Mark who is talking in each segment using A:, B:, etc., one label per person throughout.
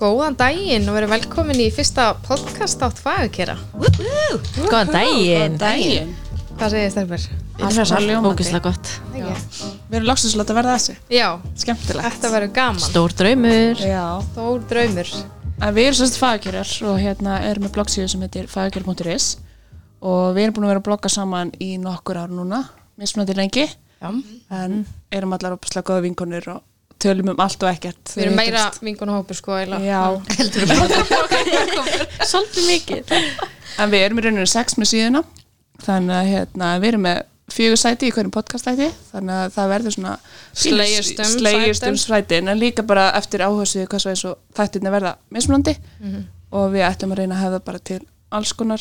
A: Góðan daginn og verið velkomin í fyrsta podcast átt fagakera.
B: Góðan daginn
C: daginn
A: Hvað segir stelpur?
C: Alveg svo
B: Ógislega gott
A: Já.
C: Við erum loksins að láta verða þessu
A: Já,
C: Skemmtilegt
A: þetta verður gaman.
B: Stór draumur
C: Já
A: Stór draumur.
C: En Við erum svolítið fagakjörar og hérna erum með bloggsíðu sem heitir fagakjör.is og við erum búin að vera að blogga saman í nokkur ár núna mismunandi lengi
A: Já.
C: en erum allar opaslega góða vinkonir og tölum um allt og ekkert
A: Við erum meira
C: hittumst.
A: vingunahópur sko eila.
C: Já,
A: Heldur við
B: Svolítið mikið
C: en við erum í rauninu sex með síðuna þannig að hérna, við erum með fjögur sæti í hverjum podcastæti þannig að það verður svona
A: Sleggjustum
C: slegjustum sætin en líka bara eftir áhersu hvað svo eins og þættirni verða mismunandi
A: Mhm.
C: og við ætlum að reyna að hefða bara til alls konar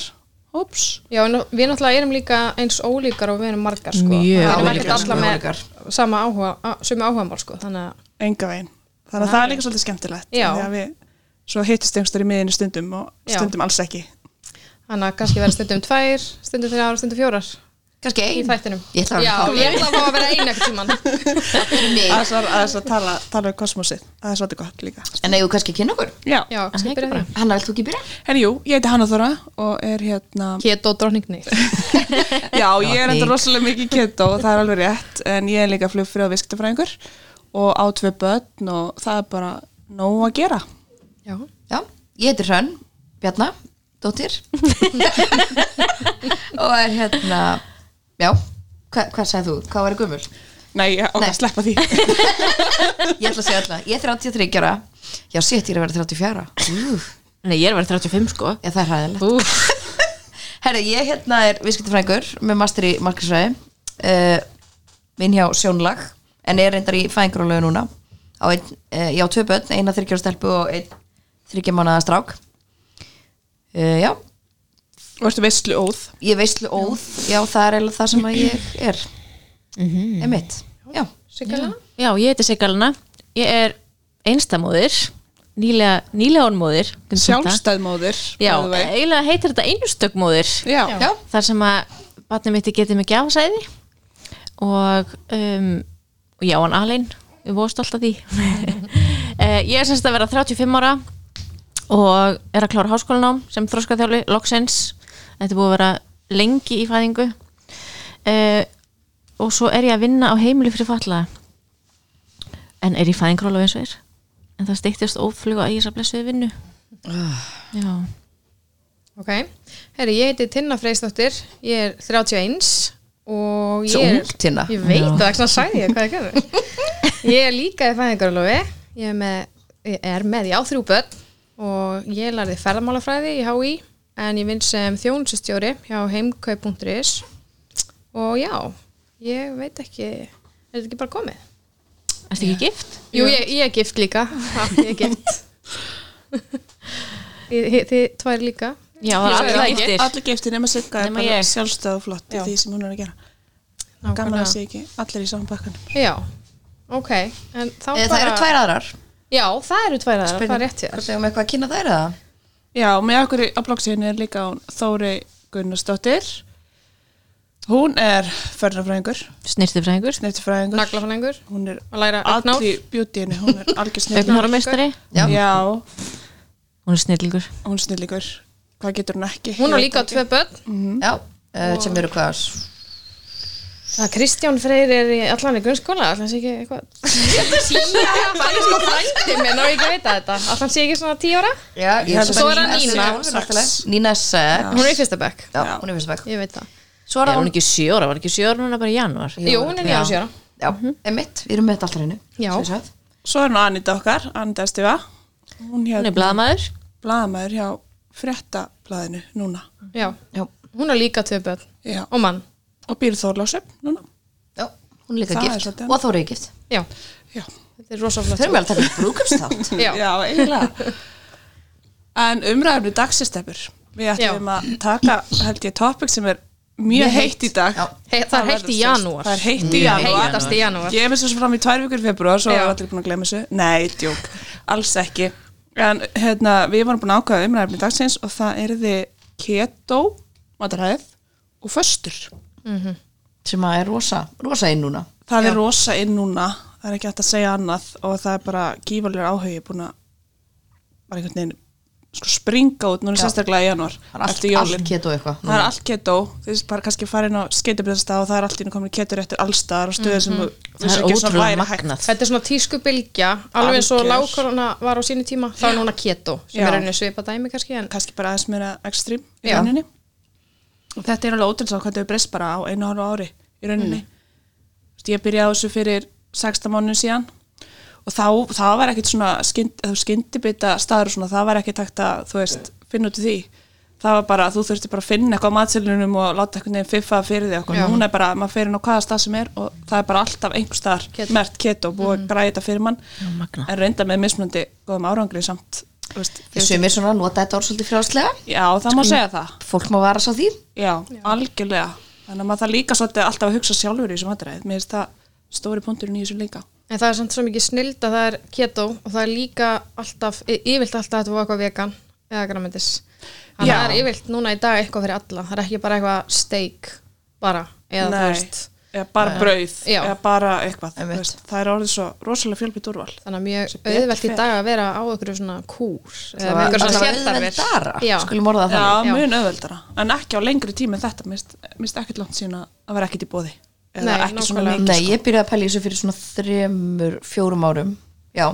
C: hóps
A: Já, en við náttúrulega erum líka eins ólíkar og við erum margar sko.
B: Mjög
A: Við erum
B: ólíkar.
A: ekkert alla með sama áhuga, á- sömu áhugamál sko. Þannig að,
C: enga veginn þannig að það er líka svolítið skemmtilegt
A: Já.
C: Því að við svo hittist einhverstar í miðinu stundum og
A: Já.
C: stundum alls ekki
A: þannig að kannski verður stundum tvær, stundum þrjár, stundum fjórar
D: Kanski
A: í
D: ein
A: þættinum.
D: Ég ætla að
A: Já,
D: vera Pálmi.
A: ég ætla að fá að vera einu ekkert tíman.
D: fyrir mig
C: aðeins að, aðeins að tala, tala um kosmosið það er svolítið gott líka
D: En eigum við kannski að kynna okkur
C: Já,
A: Já,
D: Hann
A: skipir það.
D: er ekki bara- Hanna, vilt þú ekki byrja?
C: henni jú, ég heiti Hanna Þóra og er hérna
A: Keto drottningni.
C: Já, ég er enda
B: Drottning.
C: rosalega mikið keto og það er alveg rétt, en ég er líka flugfrið og viskitafræðingur og á tvö börn og það er bara nóg að gera.
A: Já.
D: Já, ég heitir Hrönn Bjarna, dóttir Og er hérna Já, hva, hvað sagði þú? Hvað var ég gömul?
C: Nei, ég ok,
D: Nei.
C: sleppa því.
D: Ég ætla að segja alltaf, ég er 33 ára Já, sétt ég er að vera 34 Úf,
B: Nei, ég er að vera 35 sko
D: Já, það er hæðilegt
B: Úf,
D: Herra, ég hérna er viskiptifrængur með master í markisræði uh, minn hjá sjónlag en er reyndar í fæðingrólegu núna á ein, uh, ég á tvö börn, eina þryggjára stelpu og einn þryggja mánaða strák uh, Já,
C: Og ertu veistlu óð.
D: ég veistlu óð já, það er eiginlega það sem að ég er emitt, já
A: Sigurlega.
B: Já, ég heiti Sigalina Ég er einstamóðir Nýlega, nýlega onmóðir
C: Sjálfstæðmóður.
B: Já,
C: by the way.
B: eiginlega heitir þetta einustökmóðir
C: Já.
D: já,
B: þar sem að batnum mitt getið mig gjafasæði og, um, og já, hann alinn við voðst alltaf því Eh, ég er semst að vera 35 ára og er að klára háskólanám sem þróskaþjóli, loksins þetta er búið að vera lengi í fæðingu uh, og svo er ég að vinna á heimili fyrir fatlaða en er í fæðingróla eins og er en það stýttist ófluga í þess að blessuði vinnu já,
A: Ok, herri, ég heiti Tinna Freistóttir, ég er 31 og ég
D: Svo
A: er...
D: ung, Tinna.
A: Ég veit það, ekki svona sæði ég, hvað ég gerði. ég er líka í fæðingarlofi, ég er með, ég er með, já, þrjú börn og ég lærði ferðamálafræði í HÍ en ég vinn sem þjónustjóri hjá heimkaup.is og já, ég veit ekki, er þetta ekki bara komið?
B: ertu ekki gift?
A: Jú, ég, ég er gift líka, já, ég er gift. Þið, þið- þið tvær líka?
B: Já, það er allir giftir
C: Allir giftir nema Sigga er
B: Nema
C: bara
B: ég.
C: sjálfstæð og flott í
A: Já.
C: því sem hún er að gera. Gaman
A: Nákvæmlega.
C: að sé ekki allir í saman bakkanum.
A: Já, ok en þá
D: Eh,
A: bara...
D: það eru tvær aðrar
A: Já, það eru tvær aðra, það er rétt hér
D: hvort eigum við eitthvað að kynna þær eða?
C: Já, með okkur í- á bloggsíðinu er líka hún Þóri Gunnarsdóttir. Hún er förnafræðingur,
B: Snirtifræðingur
C: snittifræðingur.
A: Naglafælengur
C: Hún er
A: að læra auknár
C: allir beauty henni, hún er algjör snillingur.
B: Öfnhóramestari
D: Já.
C: Já,
B: Hún er snillingur
C: hún er snillingur. Hvað getur hún ekki?
A: Hún á
C: Ég veit
A: líka
C: ekki.
A: tvö börn
D: já, uh, sem eru hvað s-
A: Það Kristján Freyr er í allan í grunnskóla Allan sé ekki eitthvað Það er sko frændi minn og ekki veit að þetta Allan sé ekki svona tíu ára
D: já, ég
C: held að
A: Svo er það
D: Nína
A: Nína.
D: Sex, náttúrulega. Nína er sex
A: Hún er í fyrsta bekk,
D: já, hún er um fyrst vekk
A: ég veit það
D: svo er
B: Er
D: það
B: hún ekki sjö ára? Var ekki sjö ára núna bara í januar?
A: Jú, hún er nýja ára
D: já, emitt, við erum með þetta allra innu
A: Já.
C: Svo er hún Anita okkar, Anita Stiva.
B: Hún
C: Hún, hérna,
B: er blaðmaður
C: blaðamaður hjá fréttablaðinu núna.
A: Já,
D: já,
A: hún á líka tvö börn
C: Já.
A: Og mann,
C: Og býr Þorlásum núna.
D: já, hún er líka
C: Það er
D: gift
C: svolítið.
D: og Þóri er gift
A: já,
C: Já,
A: þetta er rosa flott
D: þurfum við alveg að taka upp brúkumstátt
A: Já.
C: eiginlega. en umræðinu dagsistefur. Við ætlum að taka, held ég, topic sem er mjög heitt í dag.
D: Já.
A: Hei- Það er heitt í
C: verður sérst-
A: janúar
C: Það er heitt í janúar.
A: Heitast í janúar
C: Ég hef þessu fram í tvær vikur februar svo
A: Já.
C: er allir búin að glemja þessu. Nei, djók, alls ekki. En hérna, við vorum búin að ákvæða umræðum í dagsins og það er þið keto, mataræð og föstur.
D: sem að er rosa, rosa inn núna
C: Það er rosa inn núna, það er ekki hægt að segja annað og það er bara gífalegur áhugi búin að bara einhvern veginn sko springa út núna sérstaklega í janúar
D: Það er allt,
C: eftir jólin.
D: allt keto eitthvað
C: það er allt keto, þú veist bara kannski farin á skeitabristastað og það er allt í henni komin ketur eftir allstaðar og stöðu sem þú- þú
B: það
C: veist
B: er
C: ekki svona
B: ótrúlega
C: væri hægt
B: magnað
A: Þetta er svona tísku bylgja, alveg eins og
C: Algjör.
A: lágkorona var á sínu tíma, þá er núna keto, sem
C: Já.
A: er einu svipa dæmi kannski, en
C: kannski bara aðeins meira ekstrím í
A: Já.
C: rauninni og þetta er alveg ótrúlega hvað þetta er breyst bara á einu og hálfu ári í rauninni mm. ég byrjaði á þessu fyrir 16 mánu síðan og þá, það var ekkit svona skynd, skyndibita staður og svona, það var ekkit hægt að þú veist, finna út úr því það var bara, þú þurfti bara að finna eitthvað á matselunum og láta einhvern veginn fiffa fyrir því okkur
A: Já.
C: núna er bara, maður fer inn á hvaða stað sem er og það er bara alltaf einhver staðar mert keto, búið að græða þetta fyrir mann
B: magnað.
C: en reynda með mismunandi góðum árangri samt, þú veist,
D: Ég sumir svona nota þetta orð svolítið frjálslega
C: já,
A: Sko,
C: það má segja það
D: Fólk má vara sá því
C: Já, algjörlega. Þannig að maður það líka svolítið alltaf að hugsa sjálfur í þessum aðræðið. Mér finnst það stóri punkturinn í þessu líka.
A: En það er samt svo mikið snild að það er keto og það er líka alltaf, y- yfirleitt alltaf að þetta var eitthvað vegan eða græmendis. Þannig
C: Já.
A: að það er yfirleitt núna í dag eitthvað fyrir alla, það er ekki bara eitthvað steak bara, eða þú veist.
C: Eða bara brauð,
A: Já.
C: eða bara eitthvað. þú
D: Einmitt.
C: Veist, það er orðið svo rosalega fjölbytt úrval.
A: Þannig að mjög
C: betur
A: auðvelt í
C: fer.
A: dag að vera á einhverju svona kúr eða
D: Það
A: með
D: var
A: einhverju svona
D: auðveldara,
A: sérþarfir. Já,
D: skulum orða það
C: Já,
D: þannig
A: Já.
C: mun auðveldara. En ekki á lengri tíma en þetta. Mér finnst- mér finnst ekkert langt síðan að að vera ekkert í bóði. Eða
A: Nei,
C: ekki svona
A: nákvæmlega.
C: mikið.
D: Nei, ég byrjaði að pæla í þessu fyrir svona þremur, fjórum árum Já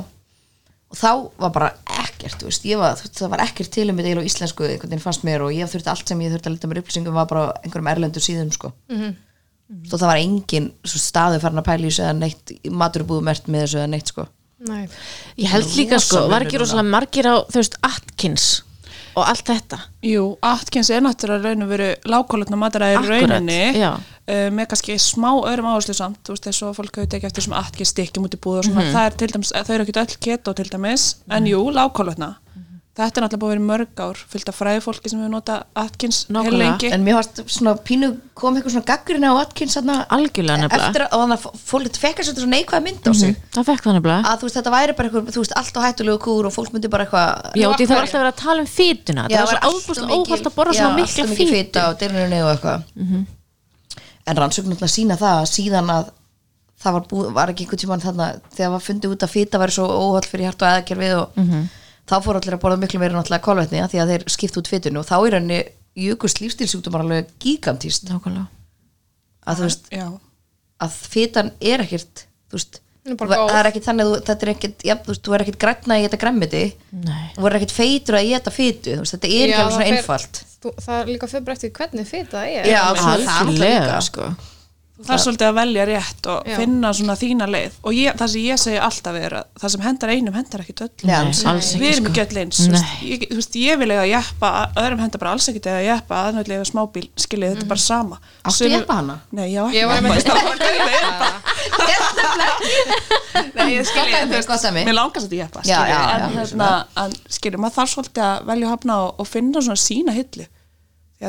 D: Og þá var bara ekkert, þú veist, ég var, þú veist, það var ekkert til um þetta eiginlega á íslensku, einhvern veginn fannst mér og ég þurfti allt sem ég þurfti að leta mér upplýsingum var bara á einhverjum erlendur síðum, sko. Mm -hmm. það var engin svo staðu farin að pæla í þessu eða neitt, maturbúðumert með þessu eða neitt, sko.
A: Nei,
B: ég held líka sko,
D: Rosa
B: var
D: munur
B: ekki rosalega margir á þú veist, Atkins og allt þetta
C: Jú, Atkins er náttúrulega raun og veru lágkólutna mataræði
B: Akkúrat,
C: rauninni
B: já.
C: uh, með kannski smá öðrum áherslu samt þú veist þess að fólk hafa tekið eftir sem Atkins stikkjum út í búð og svona,
D: Mhm.
C: það er til dæmis þau eru ekki öll keto til dæmis, en jú, lágkólutna
D: Mhm.
C: þetta er náttúrulega búið að vera í mörg ár fyllt af fræði fólki sem hefur notað Atkins
B: Nákvæmlega.
C: heilengi,
D: En mér varst svona pínu, kom eitthvað svona gaggrinna á Atkins þarna
B: Algjörlega nefnilega. Mhm. Mm,
D: Eftir að, og þannig að fólk fekk þessu svona neikvæða mynd á sig.
B: það fekk það nefnilega
D: Að þú veist, þetta væri bara eitthvað, þú veist, allt á hættulegu kúr og fólk myndi bara eitthvað
B: Já, því það var alltaf verið að tala um fýtuna
D: Já,
B: það var svo
D: allt of
B: óbúslega
D: mikil-
B: óhald að borða svona
D: já, allt
B: mikla
D: of mikil
B: fýtu Mhm.
D: fita og dyrunni og eitthvað en rannsóknarna sína það að síðan að það var, búið, var ekki einhvern tímann þarna þegar var fundið út að fita væri svo óhald fyrir hjart og eðakerfið og
B: Mhm.
D: þá fór allir að borða miklu meira náttúrulega kolvetni af því að þeir skipt út fitinu og þá er henni jökust lífstilsjúkdómar alveg gigantíst
B: Nákvæmlega.
D: að þú veist
C: já,
D: að fitan er ekkert þú veist
A: Hún er bara góð.
D: það er ekkert þannig að þú- þetta er ekkert ja, þú veist, þú er ekkert grænna í þetta græmmiti
B: Nei.
D: þú er ekkert feitur að í þetta fitu þú veist, þetta er ekki
A: Já,
D: alveg svona
A: það fer-
D: einfalt
A: þú- það er líka fyrir breyttið hvernig fyrir það er.
D: Já,
A: Einmitt.
D: það er það
B: Algjörlega
D: líka.
B: sko
C: það er svolítið að velja rétt og
A: Já.
C: finna svona þína leið og ég, það sem ég segi alltaf er að það sem hendar einum hendar ekki öll
D: Já,
B: Nei, alls ekki
C: við erum
B: sko
C: ekki öll eins þú veist, ég, þú veist, ég vil eiga að jeppa öðrum henda bara alls ekki að jeppa aðnöðlega eiga smábíl skiljið þetta er bara sama
D: Mhm. Áttu
C: Sumir-
D: jeppa hana?
C: Nei, ég á ekki
A: Ég var
C: jeppa
A: einmitt-
C: það var auðvitað jeppa. Nei, ég skil ég,
D: Gott
C: þú
D: dæmi,
C: veist,
D: gott dæmi.
C: Mér langast að jeppa
D: Já,
C: skiljiði,
D: já, já,
C: en,
D: já,
C: hérna, en skiljið, maður þarf svolítið að velja og hafna og, og finna svona sína hillu því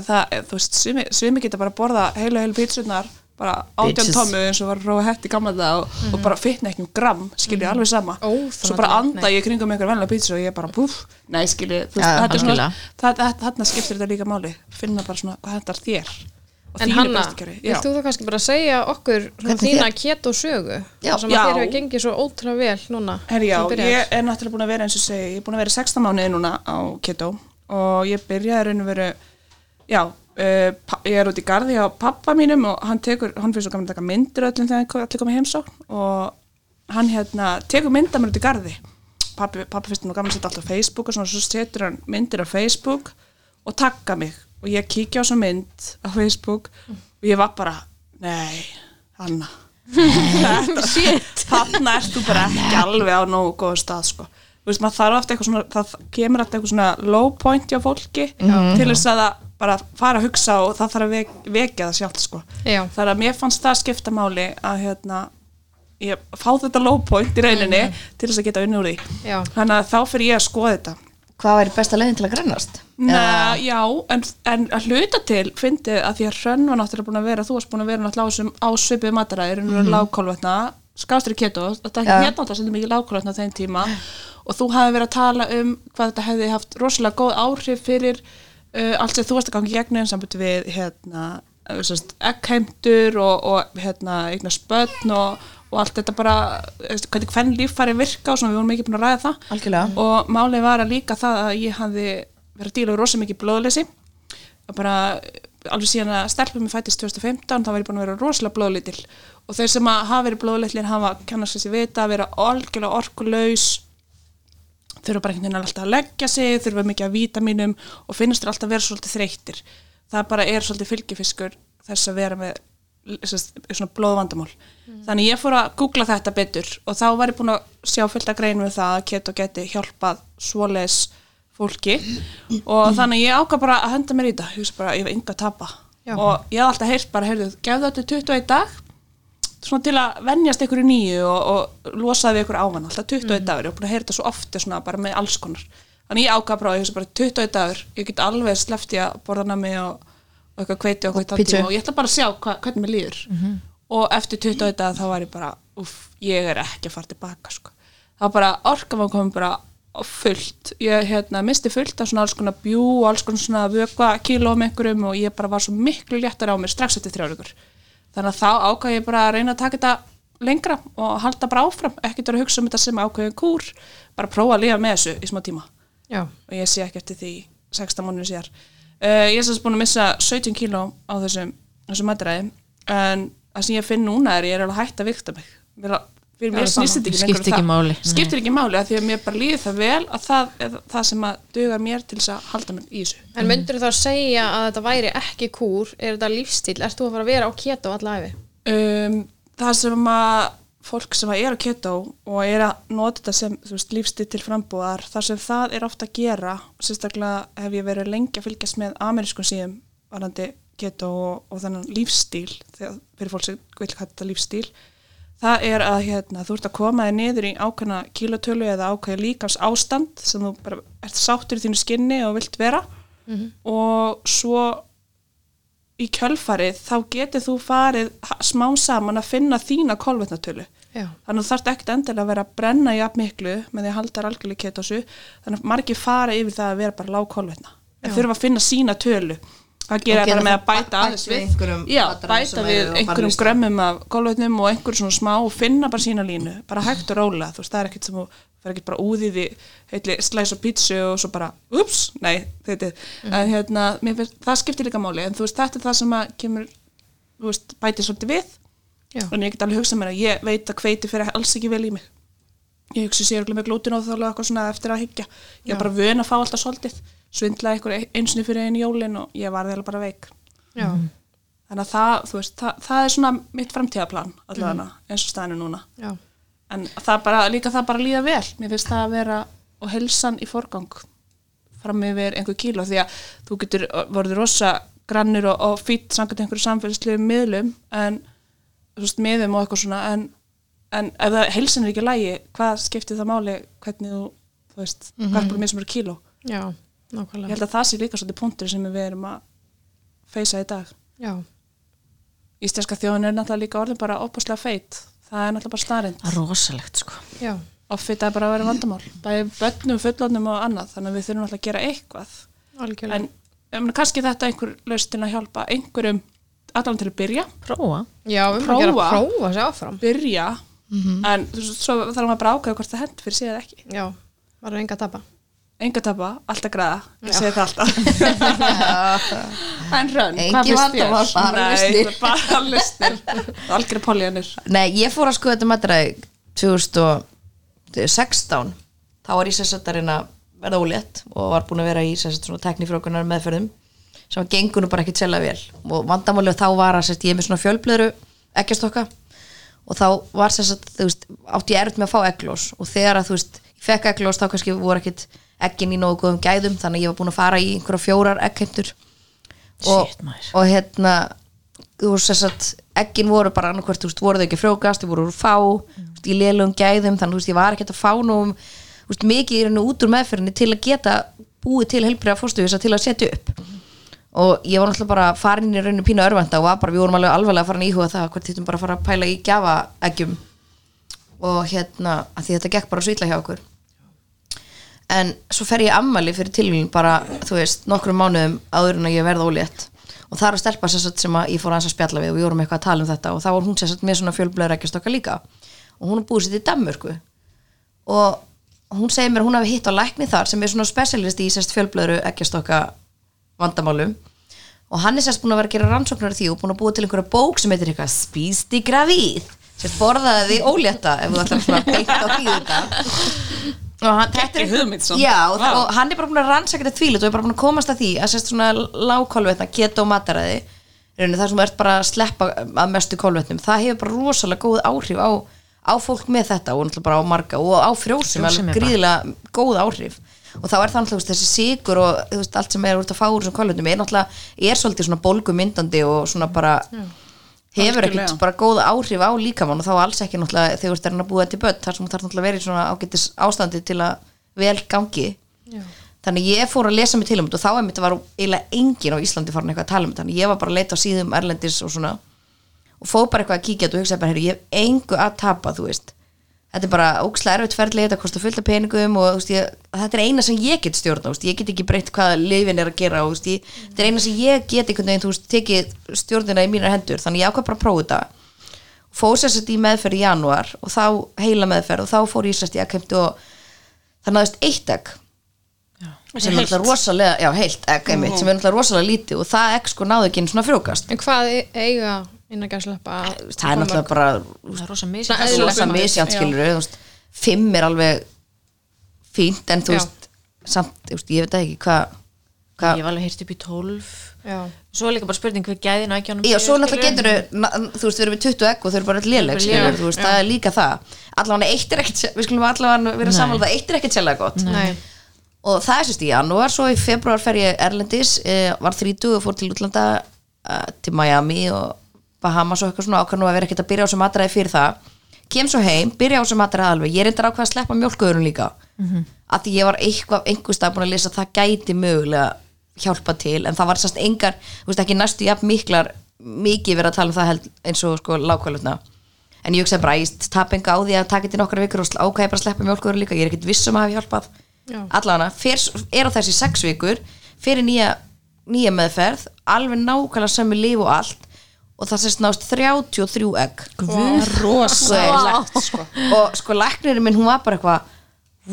C: að það, þú veist, svimi, svimi geta bara að borða heilu heilu pítsunar bara átján
D: Bitches.
C: tommu eins og var róa hætt í gamla það og, og bara fitna ekki um gram skiljið, alveg sama
A: Mhm. Ó,
C: svo bara
A: þannig að-
C: anda ég kringum einhver venlega pítsu og ég bara, búf, nei skiljið þú veist,
D: Já,
C: þetta er svona,
B: algjörlega.
C: það- það- þarna skiptir þetta líka máli finna bara svona hvað hendar þér og
A: En
C: þínu
A: Hanna,
C: brjóstkjöri. Já.
A: vilt þú þá kannski bara segja okkur svona
D: Hvernig
A: þína
D: þér-
A: keto sögu
D: Já.
A: sem að
C: Já.
A: þér hefur gengið svo ótrúlega vel núna
C: Herri já,
A: sem byrjar?
C: ég er náttúrulega búin að vera eins og segi, ég er búin að vera í 16 mánuði núna á keto og ég byrjaði raun og veru, já, uh, ég er út í garði á pappa mínum og hann tekur, hann fyrir svo gaman að taka myndir af öllum þegar hann ko- allir komið heimsókn og hann hérna tekur mynda mér út í garði. Pappi, pappi finnst nú gaman að setja allt á Facebook og svona, svo setur hann myndir á Facebook og takka mig og ég kíkja á svo mynd á Facebook og ég var bara, nei, Anna þarna ert þú bara ekki alveg á nógu góðu stað sko. Þú veist, maður þarf ofta eitthvað svona, það kemur alltaf eitthvað svona low point hjá fólki til þess að það bara fara að hugsa og það þarf að vek, vekja það sjálft sko.
A: Já.
C: Það er að mér fannst það skipta máli að hérna, ég fá þetta low point í rauninni til þess að geta unni úr því.
A: Mhm. Já.
C: Þannig að þá fyrir ég að skoða þetta.
D: Hvað væri besta leiðin til að grannast?
C: Nei, já, en, en að hluta til fyndið að því að hrönn var náttúrulega búin að vera þú varst búin að vera náttúrulega á þessum ásveipið mataræðir en þú eru lágkólvetna, skástur í keto þetta
D: Já.
C: er hérna þetta sem er mikið lágkólvetna á þeim tíma og þú hafi verið að tala um hvað þetta hefði haft rosalega góð áhrif fyrir uh, allt sem þú varst að ganga í gegnum sambund uh, við hérna ekkheimtur og, og hérna, eignar spötn og, og allt þetta bara, þú veist, hvernig hvern líffæri virka og svona, við vorum ekki búin að ræða það
D: Algjörlega.
C: og málið var að líka það að ég hafði verið að díla við rosa mikið blóðleysi að bara alveg síðan að stelpum mér fættist 2015 þá var ég búin að vera rosalega blóðlítil og þeir sem að hafa verið blóðlítil hafa kannast þessi vita að vera algjörlega orkulaus þurfa bara einhvern veginn alltaf að leggja sig þurfa mikið að vítaminum og finnast þér alltaf að vera svolítið þreyttir það bara er svolítið fylgifiskur þess að vera með sest, svona blóðvandamál þannig ég fór að googla þetta betur og þá var ég búin að sjá fullt að greinu það að keto geti hjálpað svoleiðis fólki og þannig ég ákvað bara að henda mér í þetta ég hugsa bara, ég hef enga að tapa
A: Já.
C: og ég hef alltaf heyrt bara, heyrðu, gefðu þetta 21 dag svona til að venjast ykkur í nýju og, og losaði við ykkur ávan alltaf 21 dagur, ég var búin að heyra þetta svo ofti svona bara með alls konar, þannig ég ákvað bara ég hugsa bara 21 dagur, ég get alveg sleppt ég að borða nami og, og eitthvað kveiti og, og,
D: pítsu.
C: tíma, og ég ætla bara að sjá hva, hvernig mér líður og eftir 21 dagar þá var ég bara uff, ég er ekki að fara tilbaka sko. þá bara orkan var komin bara á fullt, ég hérna misti fullt af svona alls konar bjú og alls konar svona vökva kíló með einhverjum og ég bara var svo miklu léttar á mér strax eftir þrjáleikur þannig að þá ákvað ég bara að reyna að taka þetta lengra og halda bara áfram ekkert vera að hugsa um þetta sem ákveðin kúr bara prófa að lifa með þessu í smá tíma
A: Já,
C: og ég sé ekki eftir því 16 mánuði síðar uh, ég er sérst búin að missa 17 kíló á þessum, þessum matræði en það sem ég finn núna er ég er alveg hægt að vikta mig Mér er- fyrir mér
A: Alveg
C: snýst þetta ekki lengur
B: Skiptir ekki
C: um það.
B: máli.
C: skiptir ekki máli að því að mér bara líði það vel að það er það sem að duga mér til þess að halda mér í þessu
A: en myndur þá segja að þetta væri ekki kúr, er þetta lífstíl, ert þú að fara að vera á keto alla æfi?
C: um, það sem að fólk sem að er á keto og er að nota þetta sem þú veist, lífstíð til frambúðar þar sem það er ofta að gera sérstaklega hef ég verið lengi að fylgjast með amerískum síðum varandi keto og, og þannig lífstíl þegar fyrir fólk sem vil kalla þetta lífstíl það er að hérna, þú ert að koma þér niður í ákveðna kílotölu eða ákveða líkans ástand sem þú bara ert sáttur í þínu skinni og vilt vera og svo í kjölfarið þá getur þú farið ha- smám saman að finna þína kolvetnatölu.
A: Já.
C: Þannig að þú þarft ekkert endilega að vera að brenna í jafn miklu með því að halda algjörlega ketosu. Þannig að margir fara yfir það að vera bara lág kolvetna. En þurfa að finna sína tölu. Það gera
D: Og
C: bara
D: gera
C: með
D: það
C: að bæta
D: bæ-
C: aðeins
D: bæta við
C: við.
D: einhverjum
C: Já,
D: matarefnum
C: bæta
D: sem
C: við
D: eru á
C: einhverjum
D: barnalistanum.
C: grömmum af kolvetnum og einhverjum svona smá og finna bara sína línu. Bara hægt og róla. Þú veist, það er ekkert sem þú fer ekkert bara úðið í heitli slæs og pítsu og svo bara ups, nei, þetta
D: Mhm.
C: en hérna, mér finnst, það skiptir líka máli en þú veist, þetta er það sem að kemur þú veist, bætir svolítið við
A: Já.
C: en ég get alveg hugsað mér að ég veit að hveiti fyrir alls ekki vel í mig ég hugsi sér með glútin og þálega eitthvað svona eftir að higgja ég var bara vön að fá alltaf svolítið svindlaði eitthvað einsinni fyrir einu jólin og ég var þeirlega bara veik
A: Já,
C: þannig að það, þú veist, það, það er svona mitt framtíðaplan allavega eins og staðinu núna
A: já,
C: en það bara, líka það bara líða vel mér finnst það að vera og helsan í forgang fram yfir einhver kíló því að þú getur voruð rosa grannur og, og fýtt samkvæmt einhverju samfélagslegu miðlum en þú veist, miðum og eitthvað svona en, en ef það helsan er ekki í lægi hvað skiptir það máli hvernig þú þú veist, mm -hmm. garpur mér sem eru kíló
A: já,
C: ég
A: nákvæmlega.
C: held að það sé líka svolítið punktur sem við erum að feysa í dag
A: Já,
C: Íslenska þjóðin er náttúrulega líka orðin bara opaslega feit það er náttúrulega bara starind
B: Það er rosalegt sko
A: já,
C: offita er bara að vera vandamál bæði börnum, fullornum og annað þannig að við þurfum alltaf að gera eitthvað
A: algjörlega.
C: en um, kannski þetta einhver laustin að hjálpa einhverjum allan til að byrja
B: Próa
A: já, um að gera
C: prófa.
A: prófa sér áfram.
C: byrja
D: Mhm.
C: en þú veist, svo þarf maður bara að ákveða hvort það hend fyrir síðan ekki
A: Já, varum enga að tapa.
C: enga tapa, alltaf græða, ég segi það alltaf en rönn,
D: Engin
C: hvað finnst þér?
D: vandamál, bara lausnir.
C: Nei, bara listir algjör poljanir
D: Nei, ég fór að skoða þetta matræði 2016 þá var ég sessattarinn að verða ólétt og var búin að vera í sessat svona teknifrókunar meðferðum sem að gengur nú bara ekki tjela vel og vandamáli þá var að sérst, ég er með svona fjölblöðru eggjastokka og þá var sessat, þú veist, átti ég erut með að fá egglós og þegar að þú veist, ég fekk egglós þá kannski voru ekkit eggin í nógu góðum gæðum þannig að ég var búin að fara í einhverja fjórar eggheimtur og,
B: Shit, maður.
D: og hérna þú veist þess að eggin voru bara annarkvært, þú veist, voru þau ekki að frjókast, þau voru úr fá mm. í lélugum gæðum, þannig þú veist, ég var ekkert að fá nógum, þú veist, mikið í henni út úr meðferðinni til að geta búið til helbriða fórstufisa til að setja upp og ég var náttúrulega bara farin í rauninu pínu örvænta og var bara, við vorum alveg alveg að fara að íhuga það hvert þýttum bara að fara að pæla í gjafa eggjum og hérna, að því þetta gekk bara svo illa hjá okkur en svo fer ég í ammali fyrir tilvílun bara, þú veist, nokkrum mánuðum áður en að ég verða ólétt og það er að stelpa sér satt sem að ég fór aðeins að spjalla við og við vorum eitthvað að tala um þetta og þá var hún sér satt með svona fjölblæður ekki stokka líka og hún er búið sér til Danmörku og hún segir mér að hún hafi hitt á lækni þar sem er svona specialist í sérst fjölblöðru eggjastokka vandamálum og hann er sérst búin að vera að gera rannsóknar á því og búin að búa til einhverja bók sem heitir eitthvað spýsti gravíð sérst borðaði því ólétta ef þú ætlar svona beitt á því þetta og hann, þetta
C: Ekki hugmynd samt.
D: já, og,
C: Vá.
D: og hann er bara búin að rannsaka þetta þvílit og er bara búin að komast að því að sérst svona lágkólvetna, keto mataræði raunin, það sem þú ert bara að sleppa um, að mestu kólvetnum, það hefur bara rosalega góð áhrif á, á fólk með þetta og náttúrulega bara á marga og á
B: Frjósemi
D: frjósum alveg
B: bara.
D: gríðilega góð áhrif og þá er það náttúrulega þú veist, þessi sigur og þú veist, allt sem er úr þetta fáur sem kólvetnum er náttúrulega er svolítið svona bólgumyndandi og svona bara
C: Mm.
D: hefur ekkert
C: Algjörlega.
D: bara góð áhrif á líkamann og þá alls ekki náttúrulega þegar þú ert að reyna að búa til börn þar sem þú þarf náttúrulega að vera í svona ágætis ástandi til að vel gangi
A: Já.
D: þannig ég fór að lesa mig til um þetta og þá er mitt var eiginlega engin á Íslandi farin eitthvað að tala um þetta þannig ég var bara að leita á síðum Erlendis og svona og fóð bara eitthvað að kíkja þetta og hugsaði bara, heyr, ég hef engu að tapa, þú veist þetta er bara ókslega erfitt ferli, þetta kostar fullt af peningum og þú veist, ég, þetta er eina sem ég get stjórna þú veist, ég get ekki breytt hvað lifin er að gera og, þú veist, ég, þetta er eina sem ég get einhvern veginn þú veist, tekið stjórnina í mínar hendur þannig ég ákvað bara að prófa þetta fóð sér sett í meðferð í janúar og þá heila meðferð og þá fór ég sérst í aðkæmt og það náðist eitt egg sem er alltaf rosalega, já heilt egg einmitt, sem er alltaf rosalega lítið og það egg sko náði ekki einu svona frjókast
A: En hvað e- eiga innan gæðsleppa?
D: það er náttúrulega bara
B: það er rosa
A: Svona
B: misið
A: eðlilega
D: rosa
A: mat,
D: misjant
A: já.
D: skilur veist, fimm er alveg fínt en þú
A: Já.
D: veist samt, þú veist, ég veit ekki hvað hva,
B: ég var alveg heyrt upp í 12
A: Já,
B: svo er líka bara spurning við gæðin og ekki ánum
D: já, svo náttúrulega getur þú veist, við erum við 20 egg og þau eru bara allir léleg skilur, þú veist, það er líka það allavega eitt er ekkert, við skulum allavega vera samanlega það eitt er ekkert sérlega gott
A: nei,
D: og það er sérst í janúar, svo í februar fer ég Erlendis, eh, var 30 og fór til útlanda eh, til Miami og Bahamas og eitthvað svona ákvæð nú að vera ekkert að byrja á sem matræði fyrir það kem svo heim, byrja á sem matræði alveg ég er reyndar ákvað að sleppa mjólkuðurum líka mm að því ég var eitthvað, einhverstað búin að lesa að það gæti mögulega hjálpa til en það var sérst engar, þú veist ekki næstu jafn miklar, mikið verið að tala um það held, eins og sko lágkvælutna en ég hugsaði bara, ég tap enga á því að taka þetta í nokkra vikur og sl- ákvað ég bara að sleppa mjólkuðurum líka ég er ekkert viss um að hafa hjálpað
A: Já.
D: allana, fer, er á þessi sex vikur fyrir nýja, nýja meðferð alveg nákvæmlega sömu líf og allt og það sést nást 33 egg
C: rosalegt sko.
D: og sko læknirinn minn hún var bara eitthvað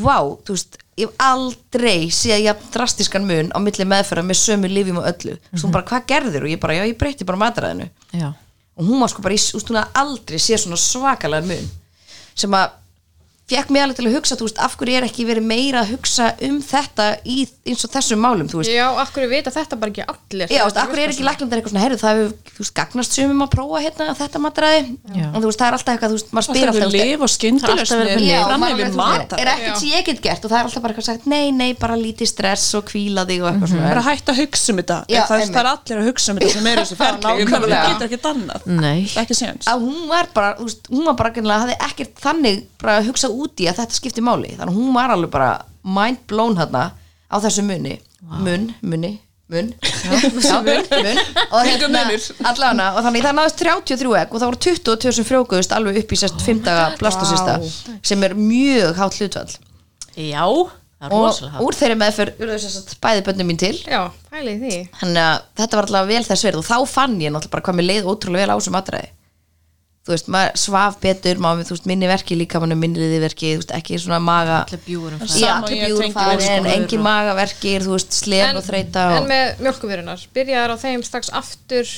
D: vá, þú veist, ég hef aldrei séð jafn drastiskan mun á milli meðferða með sömu lífum og öllu mm hún bara, hvað gerðir og ég bara, já, ég breytti bara matræðinu
B: já,
D: og hún var sko bara, í, úst, hún hafði aldrei séð svona svakalega mun sem að fekk mig alveg til að hugsa, þú veist, af hverju er ekki verið meira að hugsa um þetta í, eins og þessum málum, þú veist
A: já, af hverju vita þetta bara ekki allir
D: Já, þú veist, akkur er ekki læknandar eitthvað svona, heyrðu, það hefur, þú veist, gagnast sumum að prófa hérna þetta matræði,
B: Já.
D: en þú veist, það er alltaf eitthvað, þú veist, maður spyr
C: alltaf
D: alltaf,
C: við
D: þú veist,
B: Það er alltaf verið
C: lifa skyndilusni
B: við
D: og
C: fram
D: maður
C: yfir
D: veit, þú veist,
C: matar
D: er ekkert sem ég get gert og það er alltaf bara eitthvað sagt, nei, nei, bara lítið stress og kvíla þig og eitthvað
C: bara
D: svona
C: hætt að hugsa um þetta
D: Já,
C: já, það,
D: einmitt.
C: það er allir að hugsa um þetta sem er í þessu ferli ég meina,
D: nákvæmlega.
C: það getur ekkert annað
B: Nei.
C: Það er ekki séns
D: að hún var bara, þú veist, hún var bara gennilega, hafði ekkert þannig bara að hugsa út í að þetta skipti máli, þannig að hún var alveg bara mind blown hérna á þessu munni mun, munni, mun já, mun, mun og hérna, allana, og þannig það náðist 33 egg og það voru 22 sem frjókuðust alveg upp í sérst
B: Oh
D: 5 daga blastasista sem er mjög hátt hlutvall
B: já, það er
D: og
B: rosalega
D: úr þeirri meðferð urðu sérst bæði bönnum mín til
A: Já, pælið því
D: þannig að þetta var allavega vel þess verið og þá fann ég náttúrulega bara hvað mér leið ótrúlega vel á þessum matræði þú veist, maður svaf betur maður, þú veist, minni verki líka mann minni liðiverki, þú veist, ekki svona maga
B: allir bjúurum
C: En
B: fæ
C: samt-
D: já,
C: Sama
D: allir
C: ég
D: bjúður
C: tengi
D: farin,
B: óskoðaður
D: engin
B: og-
D: magaverkir þú veist, slefn og þreita
A: en
D: og,
A: með mjölkuverunar, byrjaðar á þeim strax aftur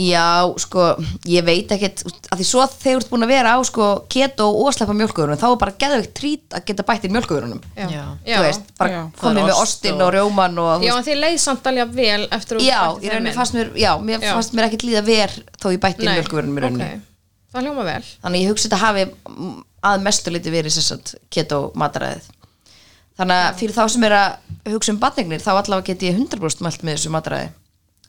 D: já, sko, ég veit ekkert þú veist, að því svo þegar þú ert búin að vera á sko, keto og sleppa mjölkugurunum þá er bara geðveikt trít að geta bætt í mjölkugurunum
A: Já,
B: Já.
A: já.
D: þú veist, bara
C: Já.
D: komið
B: Það er
D: með
B: ost
D: ostin
B: og-
D: og rjóman og þú
A: já en þið leið samt alveg vel eftir að þú
D: Já,
A: bættir
D: í
A: þeim
D: rauninni
A: inn.
D: fannst mér, já, mér
A: Já.
D: fannst mér ekkert líða ver þó ég bætti
A: Nei,
D: mjölkvörunum í rauninni.
A: ok. Það hljóma vel
D: Þannig að ég hugsa þetta hafi mm, að mestu liti verið sérstænt keto mataræðið. Þannig að fyrir þá sem er að hugsa um batningnir þá allavega get ég 100% mælt með þessu mataræði.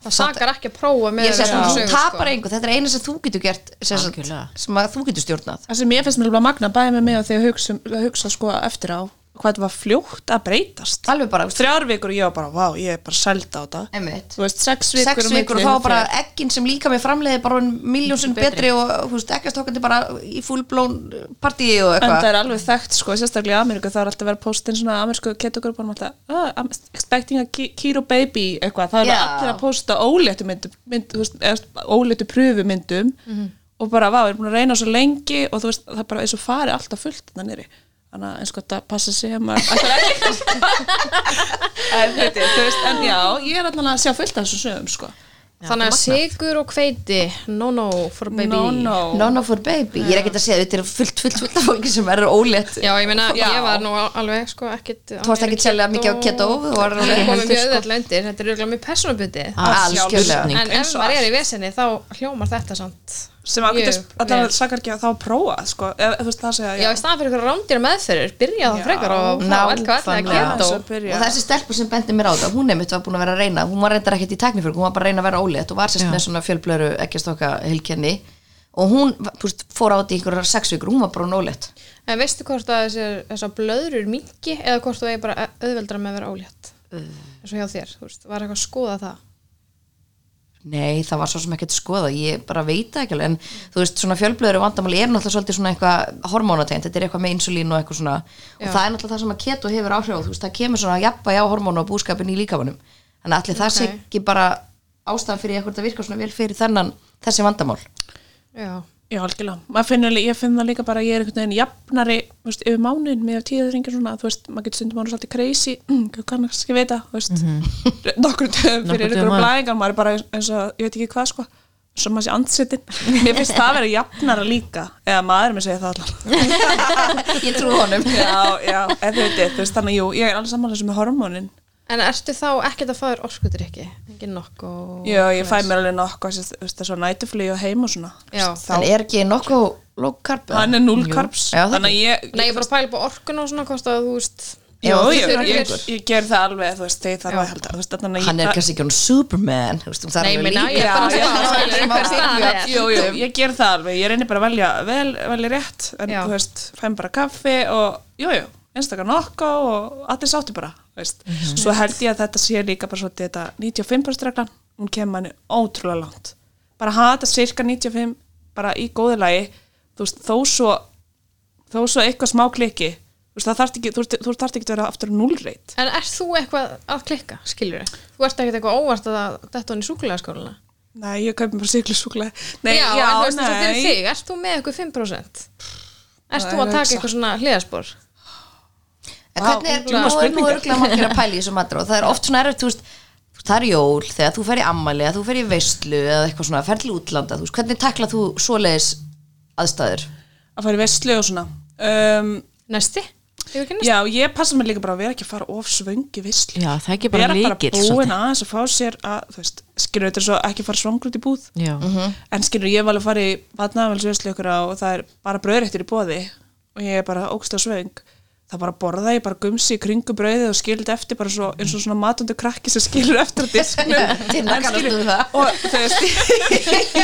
A: Það sakar ekki að prófa með sko.
D: Ég sé að
A: þessar
D: þú
A: sögur,
D: tapar engu, þetta er eina sem þú getur gert sem,
B: Algjörlega.
D: sagt, sem að þú getur stjórnað.
C: það sem ég finnst mér alveg að magna bæði með mig og þegar hugsa, að hugsa sko eftir á hvað þetta var fljótt að breytast
D: Alveg bara, þú veist,
C: þrjár vikur og ég var bara, vá, ég er bara selda á þetta
D: einmitt.
C: þú veist, sex vikur
D: Sex
C: á
D: vikur og
C: milli,
D: þá var bara
C: þegar-
D: ekkin sem líka með framleiði bara miljónsinn betri. betri og þú veist, ekkastokkandi bara í fullblón partíi og
C: en það
D: eitthvað.
C: er alveg þekkt sko, sérstaklega í Ameríku það er alltaf verið að posta inn svona amerísku ketogrupunum alltaf, oh, I'm expecting a ki- keto baby eitthvað, það er
D: Já.
C: allir að posta óléttu myndum, mynd, þú veist, óléttu pröfumyndum og bara, vá, ég er búin að reyna svo lengi og þú veist, það er bara eins og fari alltaf fullt þannig nýri, þannig að eins og þetta passa sig að maður ætlar ekki en, veit, ég, þú veist, en já, ég er alltaf að sjá fullt af þessum sögum sko.
A: Þannig að sigur og hveiti, no no for baby.
C: no, no,
D: No, no for baby, ég er ekkert að segja þetta er fullt, fullt, fullt af fólki sem er ólétt
A: Já, ég meina,
C: Já.
A: ég var nú al- alveg sko ekkit
D: Þú varst ekki sérlega mikið á keto, þú var alveg
A: Ég komið
D: heldur,
A: mjög
D: sko.
A: öðvöld undir, þetta er auðvitað mjög personabundið
D: Algjörlega.
A: En ef
C: Eins og
A: maður er í vesinni þá hljómar þetta samt
C: sem að
A: mjög vel.
C: alltaf sakar ekki að þá prófa sko, eða þú veist það að segja
A: Já, í staðan fyrir eitthvað rándýra meðferður, byrja það
C: Já,
A: frekar og fá allkvæðlega að
D: nákvæmlega.
A: geta
C: Aðeins
A: og
C: að byrja.
D: og þessi stelpu sem bendi mér á þetta hún einmitt var búin að vera að reyna, hún var reyndar ekkert í tækni hún var bara að reyna að vera ólétt og var sérst með svona fjölblöru ekki stokka heilkenni og hún þú veist, fór á þetta í einhverjar sex vikur hún var bara ólétt
A: En veistu hvort að þessar, þessar blöðrur mingi eða hvort þú er bara auðveldra með að vera ólétt eins og hjá þér, þú veist, var eitthvað að skoða það
D: Nei, það var svo sem ekkert skoða, ég bara veit það ekki alveg, en þú veist, svona fjölblöður vandamáli er náttúrulega svolítið svona eitthvað hormónategnd, þetta er eitthvað með insulín og eitthvað svona og það er náttúrulega það sem að keto hefur áhrif á, þú veist, það kemur svona að jafnvægi á hormónu og búskapin í líkamanum þannig að allir það sé
A: Ok.
D: ekki bara ástæðan fyrir eitthvað að virka svona vel fyrir þennan þessi vandamál.
A: Já,
C: Já, algjörlega. Maður Finn, alveg- ég finn það líka bara að ég er einhvern veginn jafnari þú veist, yfir mánuðin með tíðaþringir svona þú veist, maður getur stundum ánum svolítið crazy mm, kannski vita, þú veist
B: Nokkur
C: nokkur döfum fyrir
B: dögum
C: ykkur
B: áður.
C: blæðingar maður er bara eins og, ég veit ekki hvað sko svo maður sé andsetin mér finnst það að vera jafnara líka eða maður með segja það allan
D: Ég trú honum.
C: já, já, eða þú veit, þú veist þannig, jú, ég er alls samanlega sem með hormónin
A: en ertu þá ekkert að fá þér orkudrykki, engin nokk og
C: já, ég fæ mér alveg nokkuð, þú veist, það er svo nætuflý og heim og svona
A: Já,
D: Þannig er ekki nokkuð low carb? eða?
C: hann er null
D: Jú.
C: carbs,
D: Já, það
C: þannig að ég
A: nei, ég bara pæla upp á orkun og svona hvort að þú veist
D: Já,
C: Jú,
D: þú
C: ég,
D: þurfir
C: ég, ég,
D: lengur.
C: ger það alveg, þú veist, þegar það var held að, þú veist, þannig að
D: Hann er
C: ég-
D: kannski ekki hún superman, þú veist, um það
A: Nei,
D: er alveg
A: minna,
D: líka-
A: ég er bara
C: Já, já,
A: að
C: já,
A: spá skilur,
D: já,
A: hver
D: já,
A: staðan
D: já,
A: er.
C: Jú, jú, ég ger það alveg, ég reynir bara að velja vel, velja rétt, en
A: Já.
C: þú veist, fæm bara kaffi og, jú, jú, einstakar nokko og allir sátti bara, þú veist.
D: Mhm.
C: Svo held ég að þetta sé líka bara svolítið þetta 95%-reglan, hún kemur manni ótrúlega langt. Bara hafa þetta cirka 95, bara í góðu lagi, þú veist, þó svo, þó svo eitthvað smá klikki, þú veist, það þarf ekki, þú, þú þarf ekki að vera aftur núlreit.
A: En ert þú eitthvað að klikka, skilur þau? Þú ert ekkert eitthvað óvart að þetta hann í súkulegaskóluna?
C: Nei, ég kaupi bara siglisúkulega. Nei,
A: Já, já, en þú veist þess að
C: nei.
A: fyrir þig, ert þú með eitthvað 5%? Ert
C: Það
A: þú
C: er
A: að taka
C: hugsa.
A: eitthvað svona hliðarspor?
D: En hvernig er,
C: Vá,
D: nú er nú
C: spurningar.
D: örgulega margir að pæla í þessu matra og það er oft svona erfitt, þú veist, það er jól þegar þú fer í ammali eða þú fer í veistlu eða eitthvað svona, fer til útlanda, þú veist, hvernig takla þú svoleiðis aðstæður?
C: að fara í vestlu og svona um,
A: Næsti? Hefur ekki næsti?
C: já, ég passa mig líka bara að vera ekki að fara of svöngi vestlu
B: Já, það er ekki bara
C: vera
B: lykill,
C: bara
B: svolítið.
C: búin aðeins að fá sér að, þú veist, skilur þetta er svo ekki fara svangur út í búð
B: Já,
D: Mhm.
A: Mhm.
C: en skilur ég var alveg að fara í vatnaðamælsveslu ykkur á og það er bara bröðrættur í bóði og ég er bara ógstlega svöng það bara borða ég bara gumsi í kringu brauðið og skilur þetta eftir bara svo, eins og svona matundu krakki sem skilur eftir að disknum
D: Tinna,
C: En
D: kannast
C: skilur-
D: þú það?
C: og þú veist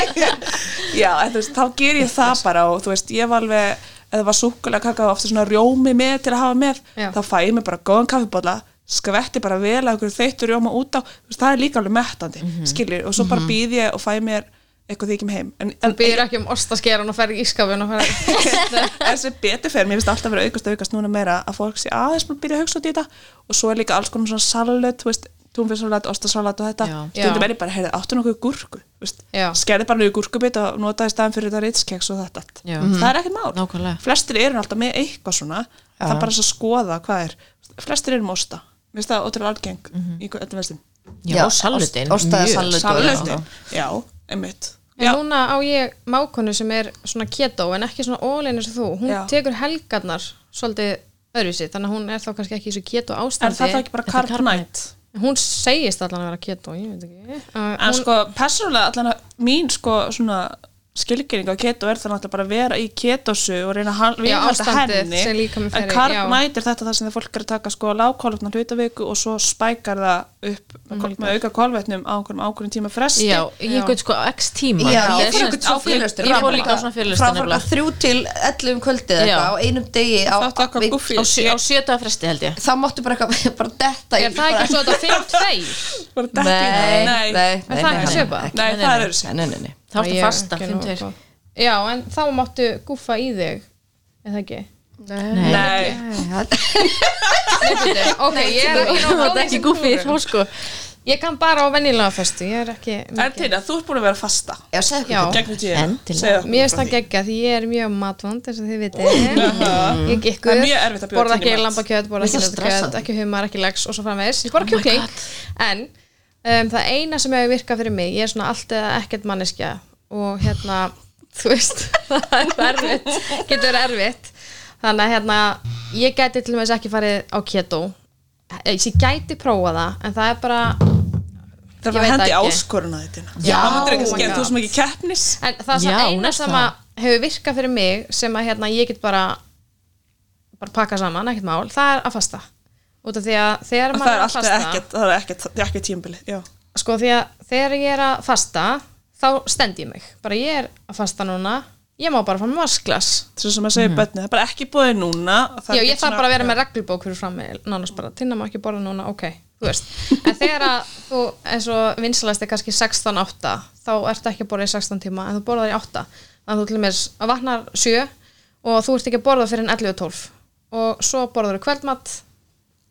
C: já, en þú veist, þá ger ég það bara og þú veist, ég var alveg eða var súkulega kaka og ofta svona rjómi með til að hafa með,
A: Já.
C: þá fæ ég mig bara góðan kaffibólla, skvetti bara vel að ykkur þeittur rjóma út á, þú veist, það er líka alveg mettandi,
A: Mhm.
C: mm skilur, og svo bara býð ég og fæ mér eitthvað því ekki með heim en, en,
A: Þú byrðir ekki um ostaskeran og ferði í ískapin og ferði
C: en Hérna, sem betur fer, mér finnst alltaf verið aukast og aukast núna meira að fólk sé aðeins búin að byrja að hugsa út í þetta og svo er líka alls konar svona salat, þú veist, túnfisalat, ostasalat og þetta,
B: Já.
C: stundum
A: Já.
C: er ég bara, heyrðu, áttu nokkuð gúrku, þú veist,
A: Já.
C: skerði bara nýju gúrkubit og notaði staðan fyrir þetta reytskeks og þetta allt.
B: Já. Mhm.
C: það er ekkert mál,
B: Nákvæmlega.
C: flestir eru alltaf með eitthvað svona, það er bara þess að skoða hvað er, flestir eru með osta, mér finnst það ótrúlega algeng
B: Mhm.
C: í öllum vestum,
B: já,
D: Já,
B: og salutin.
D: ost- ostaða
B: mjög.
D: salat. Alveg
C: saluti, já, einmitt,
A: En
C: já,
A: núna á ég mákonu sem er svona keto en ekki svona óleinu sem þú hún
C: Já.
A: tekur helgarnar svolítið öðruvísi þannig að hún er þá kannski ekki í svo keto
C: er
A: ástandi
C: það þá ekki bara
B: Þetta er
C: carb night?
A: hún segist allan að vera keto ég veit ekki uh,
C: en
A: hún,
C: sko, persónulega allan að mín sko svona skilgjöring á keto er það náttúrulega bara að vera í ketosu og reyna að
A: Já,
C: viðhalda
A: ástandið
C: henni
A: sem líkaminn fer
C: en
A: í,
C: carb
A: já.
C: night er þetta það sem þið fólk er að taka sko lágkólvetna hlutaviku og svo spækar það upp með, kol- með auka kólvetnum á einhverjum ákveðin tíma fresti
B: Já, ég
A: Já.
B: gauð sko x tíma.
D: Já, ég
B: er sem
D: fór einhvern
B: sagt-
D: á fyrirlestur,
B: Ég fór
D: ramma.
B: líka á svona fyrirlestur
D: Frá frá
B: nefnilega.
D: þrjú til 11 um kvöldið
B: Já.
D: eitthvað á einum degi á,
C: Þáttu okkar
D: við-
C: guffi.
B: Á sjö- á sjö dagar fresti held ég.
D: þá máttu bara eitthvað, bara detta í-
A: er það
D: bara-
A: ekki svo þetta fimm tveir
C: bara detti í
D: Nei,
C: það.
D: nei, nei,
A: Er það ekki
D: nei,
A: svipa?
D: nei,
C: nei,
B: Nei,
C: það
B: nei,
C: er öðru
D: nei, nei, nei, nei.
B: Þá ertu
A: Æ, ég er
B: fasta,
A: ekki
B: fimm
A: nógu
B: tveir.
A: góð. já en þá máttu guffa í þig er það ekki
B: Nei.
C: nei,
A: Nei, bíddu, ok, ég er ekki
B: Þú
A: nógu
B: mátt
A: góð í
B: ekki
A: þessum
B: gúfið
A: klúðrum.
B: þá sko.
A: Ég kann bara á venjulega festu, ég er ekki
C: En til að þú ert búin að vera að fasta
D: Já, segðu okkur
A: Já.
D: þetta.
C: gegnum tíðina.
B: Endilega.
C: Segðu okkur
A: Mér
C: frá
A: finnst það
C: því.
A: geggja því ég er mjög matvond eins og þið vitið Ég gekkur,
C: Það er mjög erfitt að bjóða
A: borða
C: til í
A: ekki
C: mat.
A: lambakjöt, borða
D: Mér
A: ekki
D: er svo
A: nautakjöt,
D: stressandi.
A: ekki humar, ekki lax og svo framvegis Ég borða kjúkling En um, það eina sem hefur virkað fyrir mig, ég er svona allt eða ekkert manneskja og hérna, þú veist, það er erfitt, getur verið erfitt Þannig að hérna, ég gæti til og meins ekki farið á keto Eh, Ég gæti prófa það, en það er bara
C: Það
A: Ég
C: var
A: veit
C: hendi
A: ekki.
C: áskoruna þetta
D: Já,
C: Það er
A: oh
C: ekki
A: my
C: skemmt, þú
A: God.
C: sem ekki keppnis
A: En það er svona
B: Já,
A: eina
B: nefnilega.
A: sem að hefur virkað fyrir mig sem að hérna, ég get bara bara pakka saman, ekkert mál, það er að fasta út af því að þegar
C: Það
A: maður
C: er
A: er að
C: alltaf
A: fasta
C: ekkert, það er ekkert, það er ekkert tímbili Já,
A: sko því að þegar ég er að fasta þá stend ég mig, bara ég er að fasta núna, ég má bara fara með vasklas
C: þess að maður
D: Mhm.
C: segir bönni, það er bara ekki búið núna það
A: Já,
C: er
A: ég
C: ekkert
A: þarf
C: svona-
A: bara að vera með reglubók fyrir fram með nánast bara, tinnar maður ekki borða núna, ok þú veist, en þegar að þú eins og vinsalast er kannski 16-8 þá ertu ekki að borða í 16 tíma en þú borðar í 8, þannig að þú til mér vaknar 7 og þú ert ekki að borða fyrir en 11-12 og svo borðar þú kvöldmatt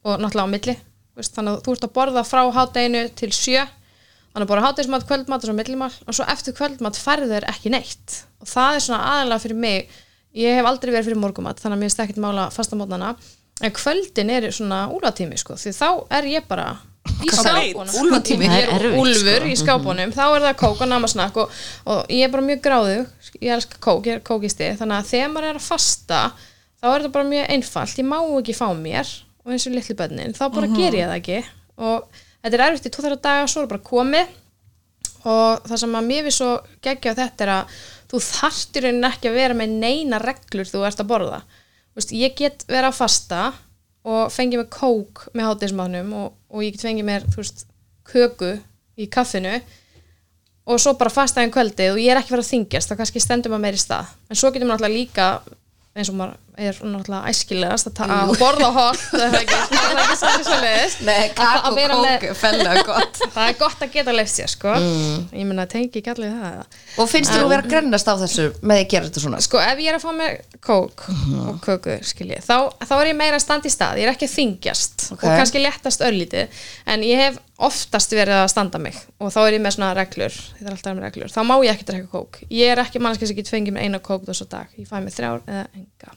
A: og náttúrulega á milli þú veist, þannig að þú ert að borða frá hádeginu til 7 þannig að borða hádeigismat, kvöldmat og svo millimál og svo eftir kvöldmat færðu þeir ekki neitt og það er svona aðalega fyrir mig ég hef aldrei verið fyrir morgumat þannig að mér finnst ekkert mála fastamótnana en kvöldin er svona úlatími sko því þá er ég bara í
C: Hvað það
A: skápunum
C: veit,
D: úlfatími.
A: Ég er
B: Það er erfitt, sko.
A: úlfur í skápunum þá er það kók og namasnakk og, og ég er bara mjög gráðug ég elska kók, ég er kókisti þannig að þegar maður er að fasta þá er það bara mjög einfalt, ég má ekki fá mér og eins og litlu bönnin, þá bara
B: Mhm.
A: ger ég það ekki og þetta er erfitt í tóþæra daga svo er bara komið og það sem að mér við svo geggja á þetta er að þú þarftir raunin ekki að vera með neina reglur þú ert að borða Þú veist, ég get vera að fasta og fengi mér kók með hátismannum og, og ég get fengi mér þú veist, köku í kaffinu og svo bara fasta einn kvöldið og ég er ekki verið að þingjast þá kannski stendur maður meir í stað en svo getur maður náttúrulega líka eins og maður er náttúrulega æskilegast að, ta- að borða hótt það er það ekki, það er ekki svolítið svolítið
D: Nei, kakó,
A: Að vera með-
D: kók, fella, gott
A: það er gott að geta lefst sér sko ég meina tengi ekki allir það
D: Og finnst þér þú vera að grennast á þessu með því að gera þetta svona?
A: sko ef ég er að fá mér kók og köku skilji, þá, þá er ég meira að standa í stað ég er ekki að þingjast
D: Ok.
A: og kannski léttast örlítið en ég hef oftast verið að standa mig og þá er ég með svona reglur, þetta er alltaf með reglur þá má ég ekki drekka kók, ég er ekki mannskið sem get fengið mér eina kók þessu dag, ég fæ mér þrjár eða enga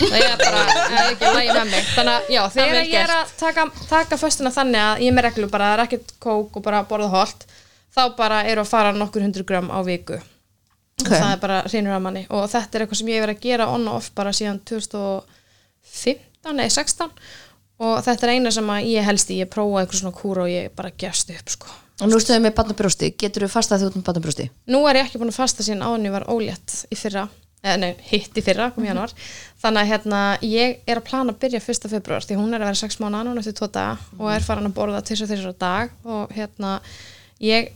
A: það er bara það er ekki lægi með mig þannig að já, þegar
B: vel
A: ég er að taka, taka föstuna þannig að ég er með reglu bara, það er ekkert kók og bara borða holt þá bara eru að fara nokkur hundru gram á viku
D: Ok.
A: okay. það er bara hreinur að manni og þetta er eitthvað sem ég hef verið að gera on og off bara síðan 2015 eða 16 og þetta er eina sem að ég helst í ég prófa eitthvað svona kúra og ég bara gefst upp sko.
D: Og nú stöðum við barnabrjósti, getur þú fastað því út með barnabrjósti?
A: nú er ég ekki búin að fasta síðan áðan ég var ólétt í fyrra eða nei, hitt í fyrra, kom í januar þannig að hérna, ég er að plana að byrja 1. februar því hún er að vera 6 mánu núna eftir 2 daga og er farin að borða 2-3 á dag og hérna, ég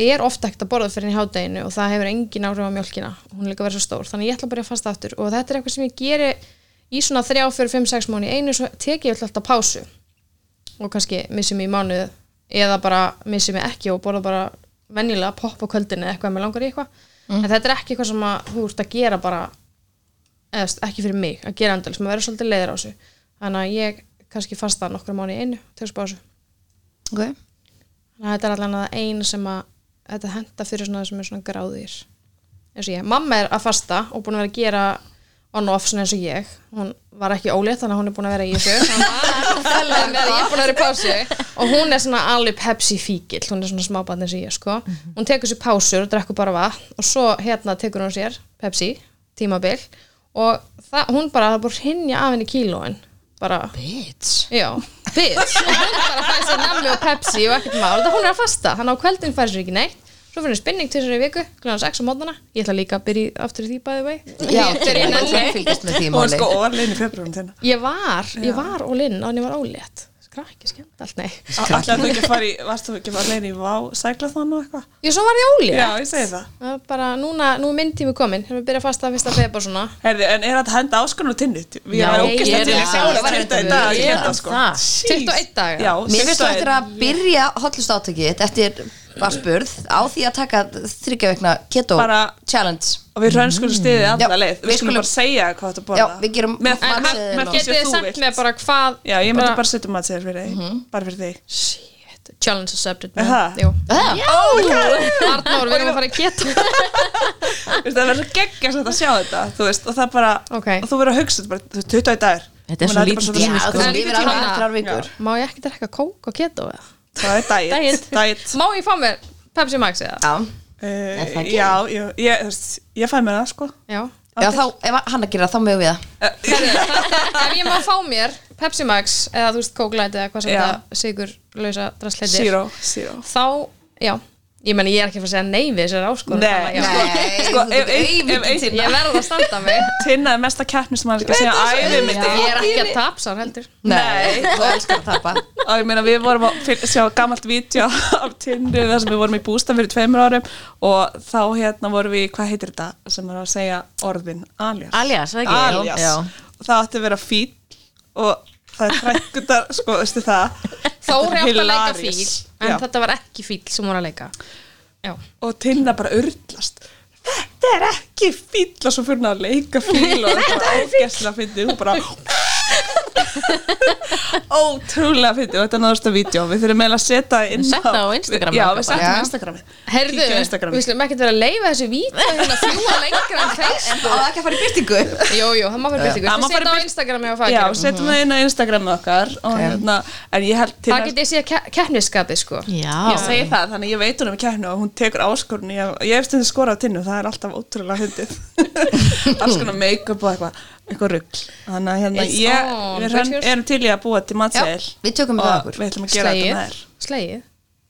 A: er ofta ekkert að borða fyrir henni hádeginu og það hefur engin áhrif á mjölkina hún er líka að vera svo stór, þannig ég ætla að byrja að fasta aftur og þetta er eitthvað sem ég geri í svona 3, 4, 5, 6 mánu í einu svo teki ég alltaf pásu og kannski missi mig í mánuð eða bara missi mig ekki og borða bara venjulega popp á kvöldinu eða eitthvað ef mig langar í eitthvað en þetta er ekki eitthvað sem að þú ert að gera bara eða þú veist, ekki fyrir mig að gera endal sem að vera svolítið leiðir á þessu þannig að ég kannski fasta nokkra mánu í einu tegst básu
D: Okay.
A: þannig að þetta er allan að það eina sem að þetta henda fyrir svona sem er svona gráðir eins og ég, mamma er að fasta og búin að vera að gera on og off svona eins og ég hún var ekki ólétt þannig að hún er búin að vera í þessu þannig að ég er búin að vera í pásu og hún er svona alveg pepsi fíkil hún er svona smábarn eins og ég sko hún tekur sér pásur og drekkur bara vatn og svo hérna tekur hún sér pepsi tímabil og það, hún bara, það er búin að hinja af henni kílóin bara
D: Bitch.
A: Já, bitch og hún bara fæði sér nammi og pepsi og ekkert mál þetta hún er að fasta, þannig á kvöldin fæði sér ekki neitt svo fyrir spinning til sér í viku kláðan 6 á mótnana, ég ætla líka að byrja í- aftur í því bæði vei
D: Já,
A: ég, byrja í
D: þú
A: nenni.
D: fylgist með því í
C: Og
D: máli.
C: sko, orðlegin í februarum þennan
A: ég var, ég var ólinn og ég var ólétt skrakki skemmt allt, nei
C: Ætlaðu þú ekki að fara í, varst þú ekki að fara leiðin í Vá, sækla þann og eitthvað?
A: ég svo var ég
C: Já,
A: ólétt
C: ég segi það
A: Það er bara, núna, nú er minn tími komin hérna við byrja að fasta fyrsta febar svona
C: Herði, en er þetta henda áskonum tinnu? Við
B: Já,
C: erum
A: ég
C: ógist
A: er
C: að tinnu
A: það.
C: sjálf
A: Var
C: þetta í
A: þetta við-
C: dag að
A: ég
C: geta
B: er
C: sko.
B: það.
C: Jeez.
A: 21 daga.
C: Já,
D: Mér finnst þú
C: 21.
D: eftir að byrja hotlust átökið eftir að spurð á því að taka þryggja vegna keto
C: Bara-
D: challenge
C: Og við
D: Mm.
C: rönskulum stiðið alla
D: Já,
C: leið
D: við
C: Við skulum
D: skulum-
C: bara segja hvað þetta borða
D: Já, við gerum
C: Með
D: matseðil
C: með-
D: og-
C: með því
A: getið
C: sem
A: þið
C: þú
A: samt
C: vilt
A: með bara hvað
D: Mhm.
C: Já, ég myndi bara setja maður fyrir þig Bara fyrir þig
A: Shit, challenge accepted
C: Er það?
A: Jú.
D: Það?
A: Oh Arnór, við erum að fara að geta
C: Veist, það verður geggjast að sjá þetta þú veist, og það bara,
A: Ok.
C: og þú verður að hugsa þetta bara, þú veist, 20 dagar
B: Þetta er svo lítill
D: Já,
B: tími,
D: þú
B: sko.
A: En-
D: lifir alveg
A: Hanna.
D: þrjár vikur
A: Má ég ekki drekka kók og keto eða?
C: sko, það er daginn,
A: Diet.
C: daginn.
A: Má ég fá mér Pepsi Max eða?
D: Já, Er
C: Uh,
D: það ekki?
C: já, ég, ég, þú veist, ég fæ mér það sko Eh,
A: Já
D: já þá, ef hann að gera það, þá mögum við það
A: Herri, þetta- Ef ég má fá mér Pepsi Max eða þú veist kóklæti eða hvað sem
C: Já.
A: þetta sigur lausa drastleitir
C: Zero, zero
A: Þá, já Ég meni ég er ekki að fara að segja nei við þessar áskorun
C: Nei,
A: já.
D: Nei,
C: Sko,
D: þú
C: ef
D: ert
C: Sko, ein-
D: auðvitað
C: ef ein-
D: til.
A: Ég verð að standa mig
C: Tinna er mesta keppni sem maður er ekki að segja æfið mitt
A: Ég er ekki að tapsa heldur
D: Nei, þú elskar að tapa
C: og ég meina við vorum að fyl- sjá gammalt vídeo af Tinnu þar sem við vorum í bústa fyrir tveimur árum og þá hérna vorum við, í- hvað heitir þetta sem er að segja orðin, alias
B: Alias, það ekki?
C: Alias.
B: Já.
C: og það átti að vera fíl og það er frækkutar, sko, veistu það
A: Þóri átt að leika fíl
C: Hilarious.
A: En
C: Já.
A: þetta var ekki fíl sem hún var að leika Já
C: og Tinna bara urlast þetta er ekki fíl og svo fyrir hún að leika fíl og þetta er ógæslega fyndið hún bara ótrúlega fyndið og þetta er náðursta vídeo við þurfum meðlega að setja það inn
B: Setta á Instagram
C: já,
B: okkar
C: við setjum á
D: bara.
C: Instagrami
A: Herðu,
C: Kíkjum á Instagram.
A: við slum ekkert vera að leifa þessu víta hérna fljúa lengra en
D: En
A: Facebook
D: það ekki að fara í byrtingu
A: Jú, jú, hann má fyrir byrtingu
C: Hann má
A: Það
C: fara í
A: setja á
C: birt-
A: Instagram eða
C: já,
A: fagir
C: setjum það inn á Instagram okkar og hérna, en ég held
A: Það
C: Tinna
A: geti ég sé keppnisskapið sko
B: Já.
C: ég segi það, þannig að ég veit hún um kæknu og hún tekur áskorun, ég, ég hef stundið skorað á tinnu, það er alltaf ótrúlega hundið alls konar make-up og eitthvað eitthvað rugg, þannig að hérna
A: It's
C: ég,
A: on,
C: við rann,
A: bitches.
C: erum til í að búa til matsæl
D: Já, við tökum þetta að okkur.
C: við ætlum að gera þetta
A: Slegið
C: með þér
A: Slegið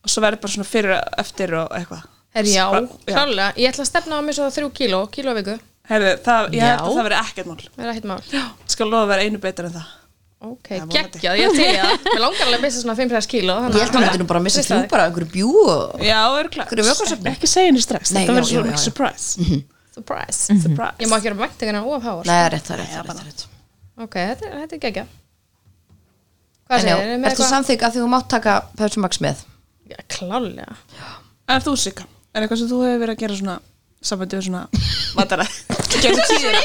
C: og svo verður bara svona fyrir og eftir og eitthvað
A: Er já,
C: Já.
A: klálega Ég ætla að stefna á mig svo þrjú kíló, kíló á viku
C: Heyrðu, það, ég held
B: Já.
C: að það verður ekkert mál
A: Það er ekkert mál
C: ég skal lofa að vera einu betur en það
A: Ok,
C: vonandi.
A: geggjað, ég til í það Mér langar alveg að missa svona 5-6 kíló
D: Ég held að hann myndi nú bara að missa trú bara á einhverju bjú og
C: já, örgulega,
D: Hverju vökvasöfnun?
C: ekki segja henni strax
D: Nei,
C: þetta
D: já,
C: verður
D: já,
C: svona
D: já, Mhm, já.
C: surprise,
A: Surprise
C: surprise.
A: Ég má ekki vera væntingarna ofháar
D: Mhm. Nei, það er rétt, það er rétt, það er rétt, það er rétt.
A: Ok, þetta er, þetta er geggja Hvað
D: En
A: segir,
D: já,
A: erum við
D: ertu
A: eitthvað?
D: samþygg að því þú mátt taka Pepsi Max með?
A: Já, Klálega
C: En þú Sika, er eitthvað sem þú hefur verið að gera svona sambandi við svona matara Getur tíðina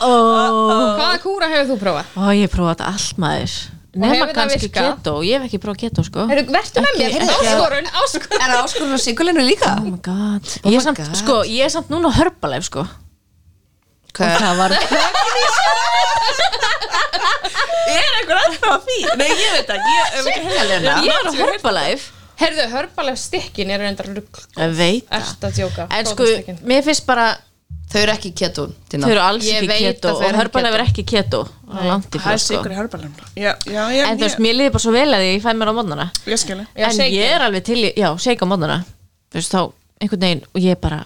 B: Ó,
A: Hvaða kúra hefur þú prófað?
B: ó, ég hef prófað þetta allt maður. Nefna
A: hefur það
B: kannski
A: virkað?
B: keto, ég hef ekki prófað keto, sko.
A: Heyrðu, vertu með mér,
D: heyrðu,
A: áskorun, áskorun
D: Er það áskorun og sigurleinu líka?
B: Oh my god, ég, er
D: my
B: samt,
D: God.
B: Sko, ég er samt núna hörpalæf sko. og það var
C: Er eitthvað alltaf að því? Nei, ég veit það, ég hef ekki hefði
D: Helena
B: ég var hörpalæf
A: Heyrðu, hörbalega stikkin er reyndar rugl
B: ég veit það
A: Erst að djóka
B: en sko,
A: Kókosstykkin.
B: mér finnst bara
D: Þau eru ekki keto
B: þau
D: Tinna.
B: eru alls
A: Ég
B: ekki
A: veit að
B: keto
A: þau eru
B: og
A: ekki
B: hörpalæf
A: keto.
B: er ekki keto það er langt í
C: Það
B: frá
C: er
B: sko.
C: sikur í hörbalum Já, já, já,
B: en þú veist,
C: ég,
B: mér liði bara svo vel að ég fæ mér á mótnana
C: ég skilja
A: Já,
B: en
A: shake
B: ég
A: it.
B: er alveg til, í- já, shake á mótnana þú veist, þá einhvern veginn og ég bara,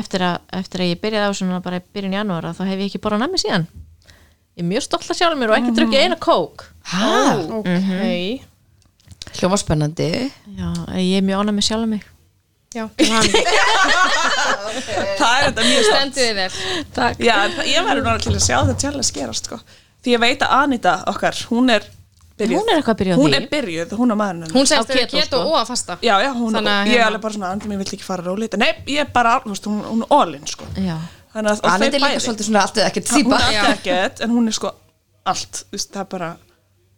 B: eftir að, eftir að ég byrjaði á svona bara í byrjun í janúar þá hef ég ekki borðað nammi síðan ég er mjög stolt að sjálf mér og ekki drukkið eina kók
D: Hæ? Mhm.
A: Ok
D: Hljóma spennandi
B: já, ég er mjög ánæg með sjálf mig
A: Já, hann
C: Það er þetta mjög stend
A: stendur þið vel Takk
C: Já, en það- ég verður náttúrulega til að sjá þetta tjálega skerast sko. Því ég veit að Anita okkar, hún er byrjuð
B: Hún er eitthvað byrjuð á
C: Hún
B: því.
C: er byrjuð, hún og maðurinn hennar.
A: Hún segist
B: Á
A: að þau
B: keto,
A: keto
B: sko.
A: og að fasta
C: Já, já, hún,
A: Þannig að
C: ég er
A: hérna-
C: alveg bara svona, andri mér vill ekki fara rólið Nei, ég er bara, þú veist, hún, hún er all in sko.
B: já,
C: Þannig að og
D: Annett
C: þau
D: er líka
C: bæði.
D: svolítið svona allt eða ekkert
C: hún
D: típa
C: er
A: Já.
C: alltaf ekkert, en hún er sko allt, þú veist, það er bara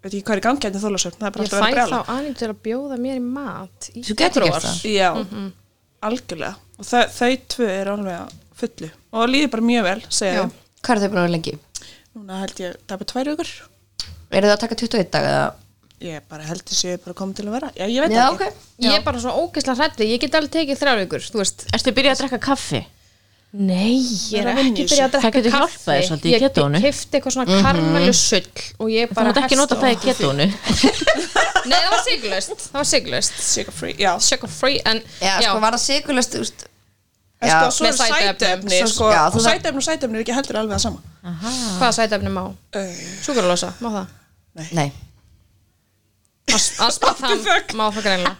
C: veit ekki hvað er í gangi hérna þólasöfn, það er bara
A: Ég
C: alltaf að
A: fæ
C: vera
A: þá
C: brjála
A: aðeins til að bjóða mér í mat í
D: Þú getur gert það.
C: já, algjörlega og þau, þau tvö eru alveg að fullu og það líður bara mjög vel, segja
D: Já.
C: þau
D: Hvað er þau bara lengi?
C: núna held ég, það er bara tvær vikur
D: Eru þau að taka 21 dag eða?
C: ég bara held þessi ég er bara komið til að vera já, ég veit
D: Já,
C: ekki
D: ok
A: Ég er bara svona ógeðslega hrætti, ég get alveg tekið þrjár vikur, þú veist
B: erstu byrjað að drekka kaffi?
A: Nei, ég
C: er
A: er
C: að vinna
A: ekki
C: í
A: byrjað að
B: þessu.
A: drekka
B: Það getur hjálpað
A: kaffi.
B: þér svolítið í
A: Ég
B: ketóinu.
A: kefti eitthvað svona karmelu sull og ég
B: Þú
A: bara
B: mátt ekki nota það í ketonu
A: Nei, það var siglaust, það var siglaust
C: Sugar free, já,
A: Sugar free en
D: Já, sko var það sigurlust
C: En
D: Já.
C: sko, svo
A: Með
C: er
A: sætuefnum.
C: sætefni
D: Svo-
C: sko,
D: já,
C: og
D: þú þarf-
C: sætefni og sætefni er ekki heldur alveg að sama
A: Hvaða sætefni má?
C: uh,
A: Súkarlósa, má það?
D: Nei
A: As- Aspartam,
C: fuck?
A: má það greinlega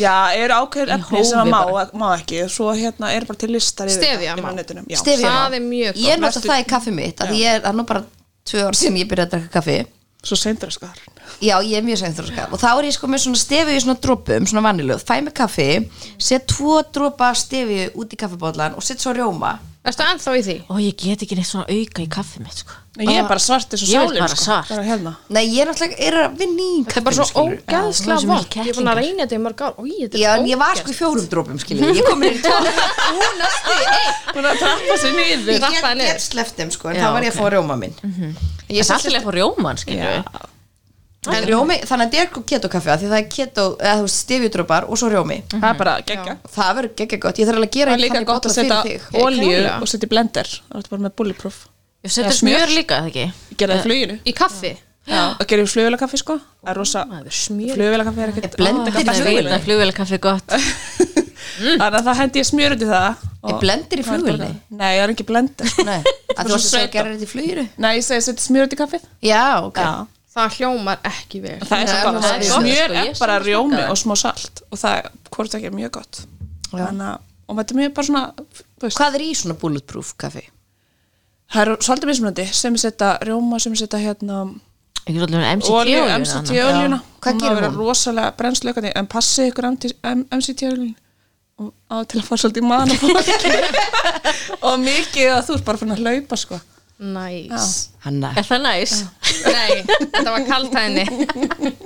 C: Já, eru ákveður efni sem
B: hófi
C: að má, má ekki svo hérna er bara til listar yfir þetta
A: Stevia
C: inn á
A: má.
C: netinu. Já.
D: Stefja
A: Það er mjög gott.
D: Ég nota
C: Næstu-
D: það í kaffi mitt af Því ég er það er nú bara tvö ár sem ég byrjaði að drekka kaffi
C: Svo seindur að skar
D: Já, ég er mjög sænþróska og þá er ég sko með svona stefið í svona dropum, svona vanilöð, fæ mig kaffi set tvo dropa stefið út í kaffibólan og set svo rjóma
A: Erstu ennþá í því?
B: og ég get ekki neitt svona auka í kaffi mitt sko.
C: Nei, ég er bara svart eins og
B: Ég er
C: sálin
B: bara
C: sko.
B: svart.
C: bara hérna
D: Nei, ég er náttúrulega, er að vinna í
A: Þetta er bara svo
D: kaffinu, skilurðu.
A: ógæðslega
B: Já, það er svo mikil
A: vond Ég er búin að
B: kettlingur.
A: reyna þetta í mörg ár Ó, þetta er
D: Já, en ég var
A: ógeðslegt.
D: sko í fjórum drópum, skiljið Ég kom inn í tvo
C: Hún er að trappa sér niður
D: Ég
A: Rappaði
D: get,
A: niður.
D: get sleftum, sko, en
B: Já,
D: þá var ég
B: ok.
D: að fá rjóma minn
B: ég er alltaf upp á rjóman skilur við
D: En rjómi, þannig að þetta er keto kaffi Því það er keto, eða þú veist, stefjudrópar og svo rjómi
C: Það er bara geggja
D: Það verður geggja gott, ég þarf alveg
C: Mhm. Það
D: að gera
C: er líka gott að setja olíu og setja í blender Það er þetta bara með bulletproof
B: ég
C: Já,
B: setur
C: smjör.
B: smjör líka, eða ekki?
C: Ég gerði það í fluginu
A: Í kaffi
C: Það gerir við flugvélakaffi sko Það er rosa
A: Smjör
C: Flugvélakaffi er ekkert
D: Blenda
B: Það er
D: fyrir
B: flugvél- flugvélakaffi gott
C: Þannig að það hendi ég smjör út í það og-
D: Er blender í
C: Það er bara-
D: flugvélni?
C: Nei, það er ekki blender
D: Nei, að þú varst að segja að
C: Sveita.
D: gera þetta í fluginu
C: Nei, ég segi setja smjör út í kaffið
D: Já, ok
C: Já
A: Það hljómar ekki vel
C: Það er
D: Nei,
C: svo
D: það
C: gott,
D: er
B: gott,
C: smjör
B: sko,
C: er
B: ég
C: bara
B: smakkaði
C: rjómi
B: það.
C: og smá salt og það er hvort ekki er mjög gott Þannig að, og þetta er mjög bara svona þú veist,
D: Hvað er í svona bulletproof kaffi?
C: það er svolítið mismunandi sem er setja rjóma, sem er setja hérna
B: ekki allir með
C: olíu,
B: MCT-olíuna
C: MCT-oljuna
D: Hvað
C: hún
D: gerir
C: að vera
D: hún?
C: rosalega brennslaukandi en passið ykkur MCT-oljun á til að fara svolítið í mann og mikið að þú ert bara fyrir að hlaupa sko.
A: Næs
D: Hanna
B: er það næs?
A: Nei, þetta var kaltæðinni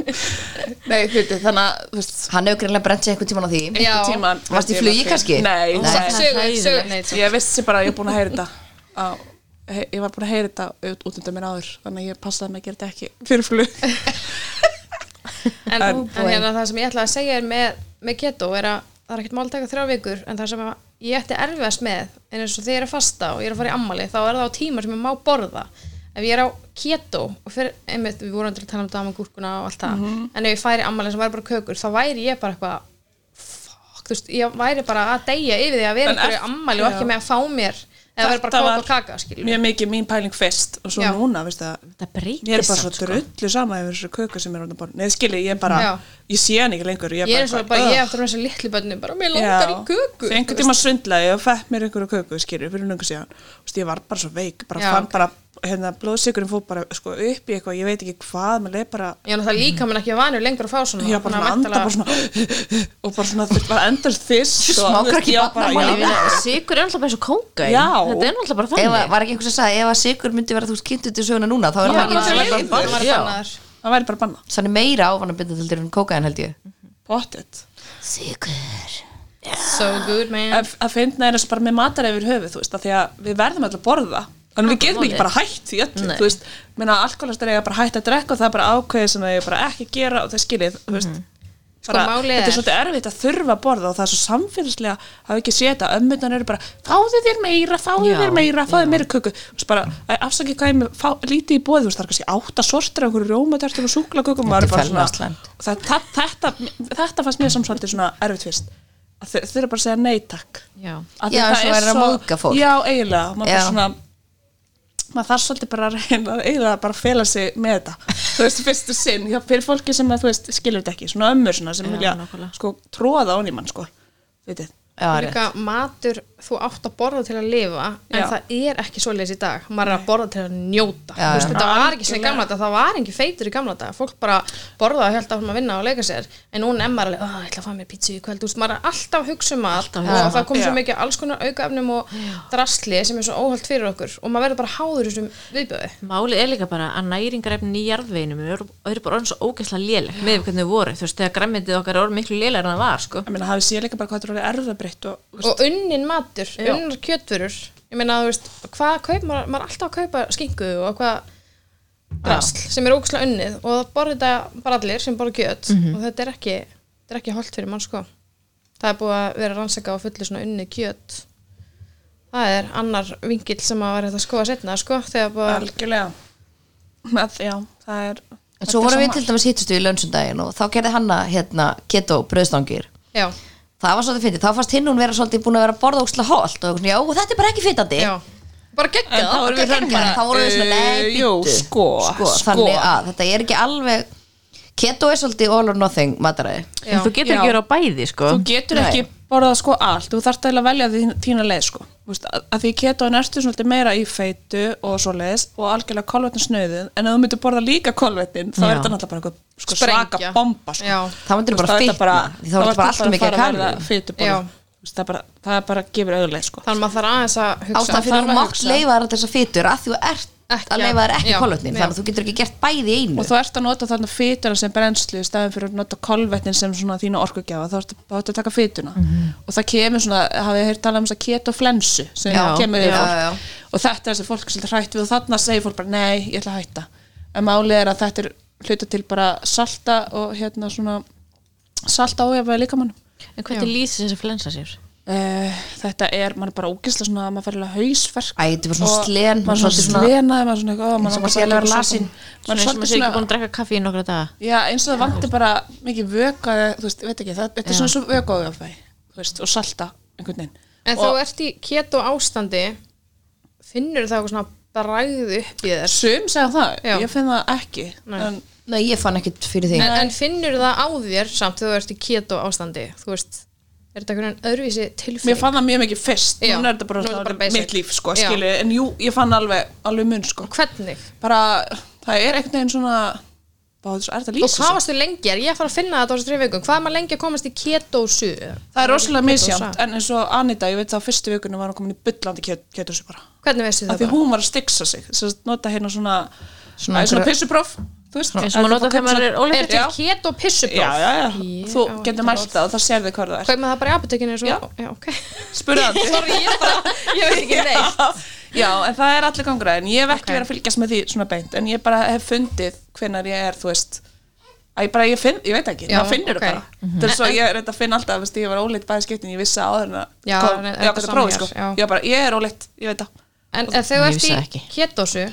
C: Nei, hluti, þannig að þú veist,
D: Hann hefur greinlega brent sér einhvern tíman á því
A: Já.
C: einhvern tímann-
D: Varstu í flugi kannski?
C: Nei,
D: Nei.
C: nei.
A: Sögur, sögur Nei,
C: ég vissi bara að ég er búin að heyra þetta á, he- ég var búin að heyra þetta út, út undan mér áður þannig að ég passaði mig að gera þetta ekki fyrir flug
A: en, en hérna það sem ég ætla að segja er með, með keto er að það er ekkert mál að taka þrjá vikur en það sem að ég ætti erfiðast með en eins og þegar ég er að fasta og ég er að fara í ammali þá er það á tíma sem ég má borða ef ég er á keto og fyrir, einmitt, við vorum til að tala um daman gúrkuna og allt það
C: Mhm.
A: en ef ég færi ammali sem væri bara kökur þá væri ég bara eitthvað fuck, þú veist, ég væri bara að deyja yfir því að vera
C: En
A: einhverju
C: eft-
A: ammali og ekki
C: já.
A: með að fá mér eða vera bara kók og kaka skilur
C: mjög mikið mín pæling fyrst og svo
A: Já.
C: núna, veistu það
B: það
C: Ég er
B: breytist
C: bara svo
B: samt, sko.
C: drullu sama yfir þessu köku sem er orðin borð. Nei, skilji, ég er bara,
A: Já.
C: ég sé hann ekki lengur.
A: ég er eins og bara, ég
C: ugh.
A: eftir þessu litlu bönni bara, mér langar í köku
C: Þegar einhvern tíma svindlaði og fætt mér einhverju köku, skilju, fyrir lungu síðan. Þú veist, ég var bara svo veik, bara
A: Já,
C: fann
A: ok.
C: bara, hérna, blóðsikurinn fór bara sko, upp í eitthvað, ég veit ekki hvað, maður leið bara,
A: Já, það líka mér ekki vanur lengur að fá svona
C: ég var bara svona að anda bara svona, og bara svona, þetta var endast fyrst. og, þú
D: Smákrakki
C: veist, ég var bara,
D: barnamáli
C: já.
D: við það.
B: Sigur er alltaf bara eins og kóka
C: Já.
B: Þetta er alltaf bara
D: Ef,
B: þannig
D: að- Var ekki einhvers að sagði, ef að sigur myndi vera þú skynnt út í söguna núna þá er
C: Já,
D: það
C: það er
D: ekki einu sinni-
C: leiðin.
A: Það var
B: Já.
A: bannaður
C: Það væri bara banna.
D: Sann er meira ávanabindadildir en kókaðin held ég
C: Pottet.
D: Sigur
A: So good man
C: Að að finna er þess bara með matar yfir höfuð, þú veist, af því að við verðum alltaf að borða. Þannig við getum ekki
B: málið.
C: bara hætt því öllu,
B: Nei.
C: þú veist, meina alkoholistar eiga bara hætt að drekka og það er bara ákveðið sem það eiga bara ekki að gera og það skiljið, þú veist.
B: Mhm. Sko,
C: Bara,
A: málið er-
C: þetta er svolítið erfitt að þurfa að borða og það er svo samfélagslega að ekki sé þetta ömmutan eru bara, fáðu þér meira, fáðu
B: Já,
C: þér meira, fáðu þér meira köku þú veist bara, æ, afsakið hvað ég er með fá, lítið í bóði, þú veist það er kannski átta sortir af einhverju rjómatertum og súklakökum
D: Þetta er
C: maður er bara svona-
D: felmastland.
C: það, það, þetta, þetta fannst mér samsvöldi svona erfitt fyrst að þau þau eru bara að segja nei takk
B: Já.
C: Af því
D: Já,
C: það
D: eins og
C: er
D: værir að móðga fólk.
C: já, eiginlega, maður bara
D: Já.
C: svona maður þarf svolítið bara að reyna eiginlega bara að fela sig með þetta þú veist, fyrstu sinn, já, fyrir fólki sem að þú veist, skilur þetta ekki, svona ömmur svona sem
B: Já,
C: vilja,
B: nákvæmlega.
C: sko, tróða án í mann, sko við þið,
D: Já, rétt.
A: Líka matur, þú átt að borða til að lifa en
C: Já.
A: það er ekki svoleiðis í dag maður er að borða til að njóta
D: Já,
A: Þú veist,
D: já.
A: þetta var ekki svona í gamla dag, það var ekki feitur í gamla dag fólk bara borðaði og held að að vinna og leika sér en núna er maður alveg, "Ah, ég ætla að fá mér pítsu í kvöld Þú veist, maður er alltaf að hugsa um allt
B: að
A: og
B: hugsa um
A: það kom svo
C: Já.
A: mikið af alls konar aukaefnum og drasli sem er svo óhald fyrir okkur og maður verður bara háður þessum viðbjöði
B: Málið er líka bara að næringarefnin í jarðveginum eru, eru bara orðin svo ógeðslega léleg með við hvernig þau voru, þú veist, þegar græmitið okkar er orðin miklu lélegar en það var, sko
C: ég meina, hafið séð líka bara hvað þetta er orðið erfðabreytt og, þú veist,
A: og unnin matur, unnar kjötfurur ég meina, þú veist, hvað kaup maður, maður er alltaf að kaupa skingu og hvað drasl sem er ógæslega unnið og það borði þetta bara allir sem borði kjöt
C: Mhm.
A: og þetta er ekki, þetta er ekki holdt fyrir mann sko það er búið að vera rannsaka á fullu svona unnið kjöt það er annar vingill sem að vera þetta að skoða setna sko, þegar búið að
C: algjörlega að, já, það er
D: En svo vorum við til dæmis hittustu í lönsundaginn og þá gerði hanna hérna keto bröðstangir
A: já,
D: Það var svolítið fyndið, þá fannst hinn hún vera svolítið búin að vera að borða óksla holt og ég var svona, já, þetta er bara ekki fyndandi
A: já, bara gegga
C: En þá erum við þannig bara,
D: Þá vorum við svona, nei,
C: eh,
D: bíddu."
C: jú, sko, sko.
D: Þannig að þetta er ekki alveg Keto er svolítið all or nothing mataræði
A: Já.
B: En þú getur ekki
C: Já.
B: verið á bæði, sko
C: þú getur
D: Nei.
C: ekki borðað sko allt þú þarft eiginlega að velja þín, þína leið sko Þú veist, að, að því ketoðin ertu svolítið meira í feitu og svo leiðis og algjörlega kolvetn snöðin en ef þú myndir borða líka kolvetnin þá er
B: Já.
C: þetta náttúrulega bara eitthvað sko,
A: Sprengja.
C: svaka bomba sko.
A: Já.
D: Þá myndirðu
C: Þú veist,
D: bara
C: þá er þetta
D: fitna, því þá ertu bara allt of mikið
C: að fara að
D: kaloríur.
C: verða fitu
A: Já.
C: bara. Þú veist, það, bara, það bara gefur auðlega sko.
A: þannig að maður þarf aðeins að hugsa
D: ástæðan fyrir
A: þarf
D: að þú
A: að
D: mátt
A: hugsa.
D: leifa þar þessar fytur að þú ert
A: Ekki
D: að
A: að-
D: leifa þar ekki
A: já,
D: kolvetnin
A: já.
D: þannig að þú getur ekki gert bæði í einu
C: og þú ert að nota þarna fytuna sem brennslu í staðin fyrir að nota kolvetnin sem svona þína orkugjafa þá ertu þá ertu að taka fytuna og það kemur svona, hafið þið heyrt talað um þess að ketoflensu sem
D: Já,
C: kemur
D: já,
C: yfir fólk
D: já.
C: og þetta er þess að fólk er svolítið hrætt við og þarna segir fólk bara nei, ég ætla að hætta en málið er að þetta er hluta til bara salta og hérna svona salta áhjafaði líkamannum
B: En hvernig lýsir þessi flensa sér?
C: Uh, þetta er, maður er bara ógislega svona maður fær alveg hausverk
D: Æ, þetta var svona
C: Og
D: slen,
C: maður er svona
D: svolítið svona-
C: slenaði, maður er svona eitthvað ó,
D: Eins og
C: langar
D: maður sé
C: bara
D: alveg
C: eitthvað
D: lasinn.
C: svona-
B: Svona
C: maður
B: eins og
C: er svolítið
B: maður sé ekki
C: svona
B: búin að drekka kaffi í nokkra daga.
C: Já, eins og það vanti bara mikið vöka eða, þú veist, ég veit ekki, það, þetta er svona svo vökaugafæ þú veist, og salta einhvern veginn
A: en
C: og
A: þá ert í keto ástandi finnur það eitthvað svona bræðu upp í þér
C: sum segja það,
A: Já.
C: ég finn það ekki
A: Nei.
C: en,
D: Nei, ég fann ekkit fyrir því
A: en, en finnur það á þér samt þegar þú ert í keto ástandi þú veist, er þetta einhvern veginn öðruvísi
C: mér
A: tilfinning
C: fann það mjög mikið fyrst
A: Já.
C: núna er þetta bara,
A: Nú er þetta bara
C: bara
A: basic.
C: mitt líf, sko,
A: Já.
C: skilju en jú, ég fann alveg, alveg mun, sko
A: hvernig?
C: bara, það er einhvern veginn svona bara, þú veist, er þetta
A: og
C: lýsa
A: hvað
C: sig?
A: varstu lengi? Er ég að fara að finna þetta á þessu þrjum vikum? Hvað er maður lengi að komast í keto-su?
C: það er rosalega misjátt,
A: Keto-sa.
C: en eins og Anita, ég veit það á fyrstu vikunum var hún komin í byllandi kjötussu bara
A: Hvernig veistu
C: af
A: það
C: því
A: bara?
C: hún var að stiksa sig sem sagt, nota hérna svona,
D: Svona
C: svona, svona
D: einhverja-
C: pissupróf þú veist,
B: Eins og maður
C: að
B: notar
C: þú
B: þegar maður
C: kaupir
B: er
C: svona-
A: Er
B: óléttur.
A: til
C: Já.
A: keto-pissupróf?
C: já, já, já,
A: Ég
C: þú
A: á
C: getur
A: ekkert
C: mælt það og það sérði hvað það er
A: Kaup með það bara í apotekinu svo,
C: Já.
A: já, ok
C: spurðandi
A: Sorry, ég, bara, ég veit ekki neitt
C: já, en það er allir gangra en ég hef ekki
A: Ok.
C: verið að fylgjast með því svona beint en ég bara hef fundið hvenar ég er þú veist að ég bara, ég finn, ég veit ekki,
A: Já,
C: maður finnur
A: ok. Mhm.
C: það bara þetta er svo, ég er reynd að finna alltaf, veist, ég var óleitt bæði skiptin, ég vissi áður en að
A: Já,
C: kom-
A: en- en
C: ég
A: þetta
C: ákvæði að
A: sama
C: prófa,
A: hér,
C: sko,
A: já.
C: ég var bara, ég er óleitt ég veit það,
A: En ef þau
B: Ég
A: ert
B: vissi það
A: í
B: ekki.
A: keto-su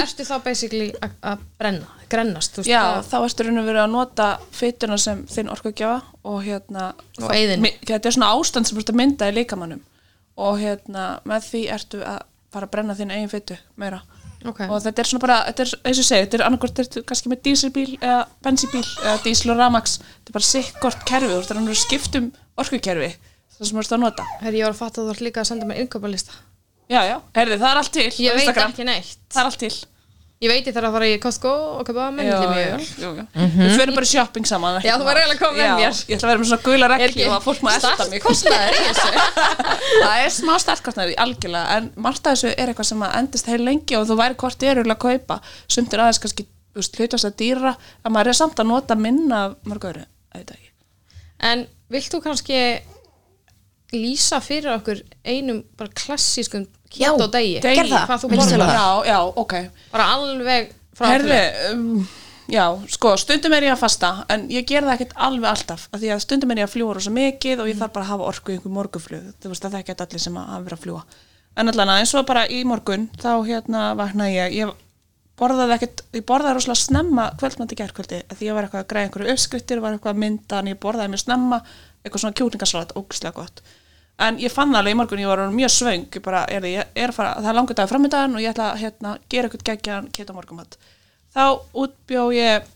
A: Ertu þá basically a- að brenna, grennast þú veist,
C: já,
A: að-
C: þá erstu raun og verið að nota fytuna sem þinn orkugjafa og hérna,
A: Og
C: þá-
A: eyðinni.
C: mi- þetta er svona ástand sem búst að mynda í líkamannum og hérna, með því ertu að fara að brenna þín eigin fytu meira
A: Ok,
C: og þetta er svona bara, þetta er eins og ég segi, þetta er annarkvort ertu kannski með dísilbíl eða bensíbíl eða dísil og ramax, þetta er bara sikkort kerfi og þetta er annars skiptum um orkukerfi það sem þú ert að nota
A: herri, ég var að fatta að þú ert líka að senda mér innkaupalista
C: já, já, heyrðu, það er allt til á
A: Ég veit
C: Instagram.
A: ekki neitt
C: það er allt til
A: Ég veit ég þarf að fara í Costco og kaupa
C: Já,
A: mennli
C: já,
A: mjög
C: já, já. við förum bara í shopping saman ekki
A: Mhm. Já, þú var
C: mál.
A: eiginlega að koma með
C: Já,
A: mér.
C: ég ætla að vera með svona gula
A: Er
C: regli
A: ekki
C: og að fólk má elta mig
A: startkostnaður í þessu?
C: það er smá startkostnaði, algjörlega en margt af þessu er eitthvað sem að endist heil lengi og þú væri hvort ég er að kaupa sumt er aðeins kannski þú veist, hlutast að dýra að maður er samt að nota minna af mörg öðru, auðvitað ekki
A: En vilt þú kannski lýsa fyrir okkur einum bara klassískum
D: Já,
A: keto degi?
D: gerð það.
A: Hvað þú
D: Viltu
A: borðar?
D: það?
C: Já, já, ok
A: Bara alveg frá
C: Herði, um, já, sko, stundum er ég að fasta en ég ger það ekkert alveg alltaf af því að stundum er ég að fljúa rosa mikið og ég þarf bara að hafa orku í einhver morgunflug þú veist að það er ekkert allir sem að hafa verið að fljúa en allan aðeins svo bara í morgun þá hérna vaknaði ég ég borðaði ekkert, ég borðaði rosalega snemma kvöldmandi gerkvöldi, af því ég var eitthvað að græða einhverju uppskriftir, var eitthvað að mynda en ég borðaði mér snemma, eitthvað svona kjúklingasalat ógustlega gott, en ég fann það alveg í morgun ég var orðin mjög svöng, ég bara er, ég er að fara, það er langur dag framöndaðan og ég ætla að hérna, gera eitthvað geggjaðan keta morgumat þá útbjó ég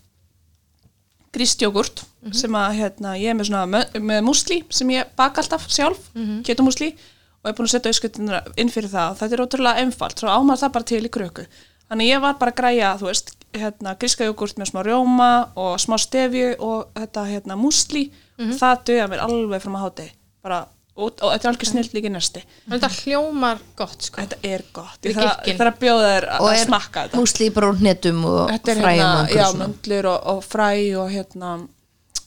C: grístjógurt
D: Mhm.
C: sem að hérna, ég er með svona mö- með músli sem ég baka alltaf sjálf mm
D: Mhm.
C: -hmm. og er búin að setja auðskuttina inn fyrir það og þetta er ótrúlega einfalt svo ámar það bara til í kröku þannig ég var bara að græja, þú veist, hérna, gríska jógurt með smá rjóma og smá stefju og þetta hérna músli
D: Mhm.
C: og það döða mér alveg fram að háti bara, og, og þetta er algjör snill líki næsti
A: Þetta hljómar gott sko
C: þetta er gott, ég
A: Við
C: þarf
A: gikkin.
C: ég þarf að bjóða þér að,
D: og
C: að
D: er
C: smakka þetta
D: músli bara úr hnetum og
C: þetta er
D: fræjum
C: hérna,
D: og einhverju
C: já,
D: svona.
C: möndlur og, og fræ og hérna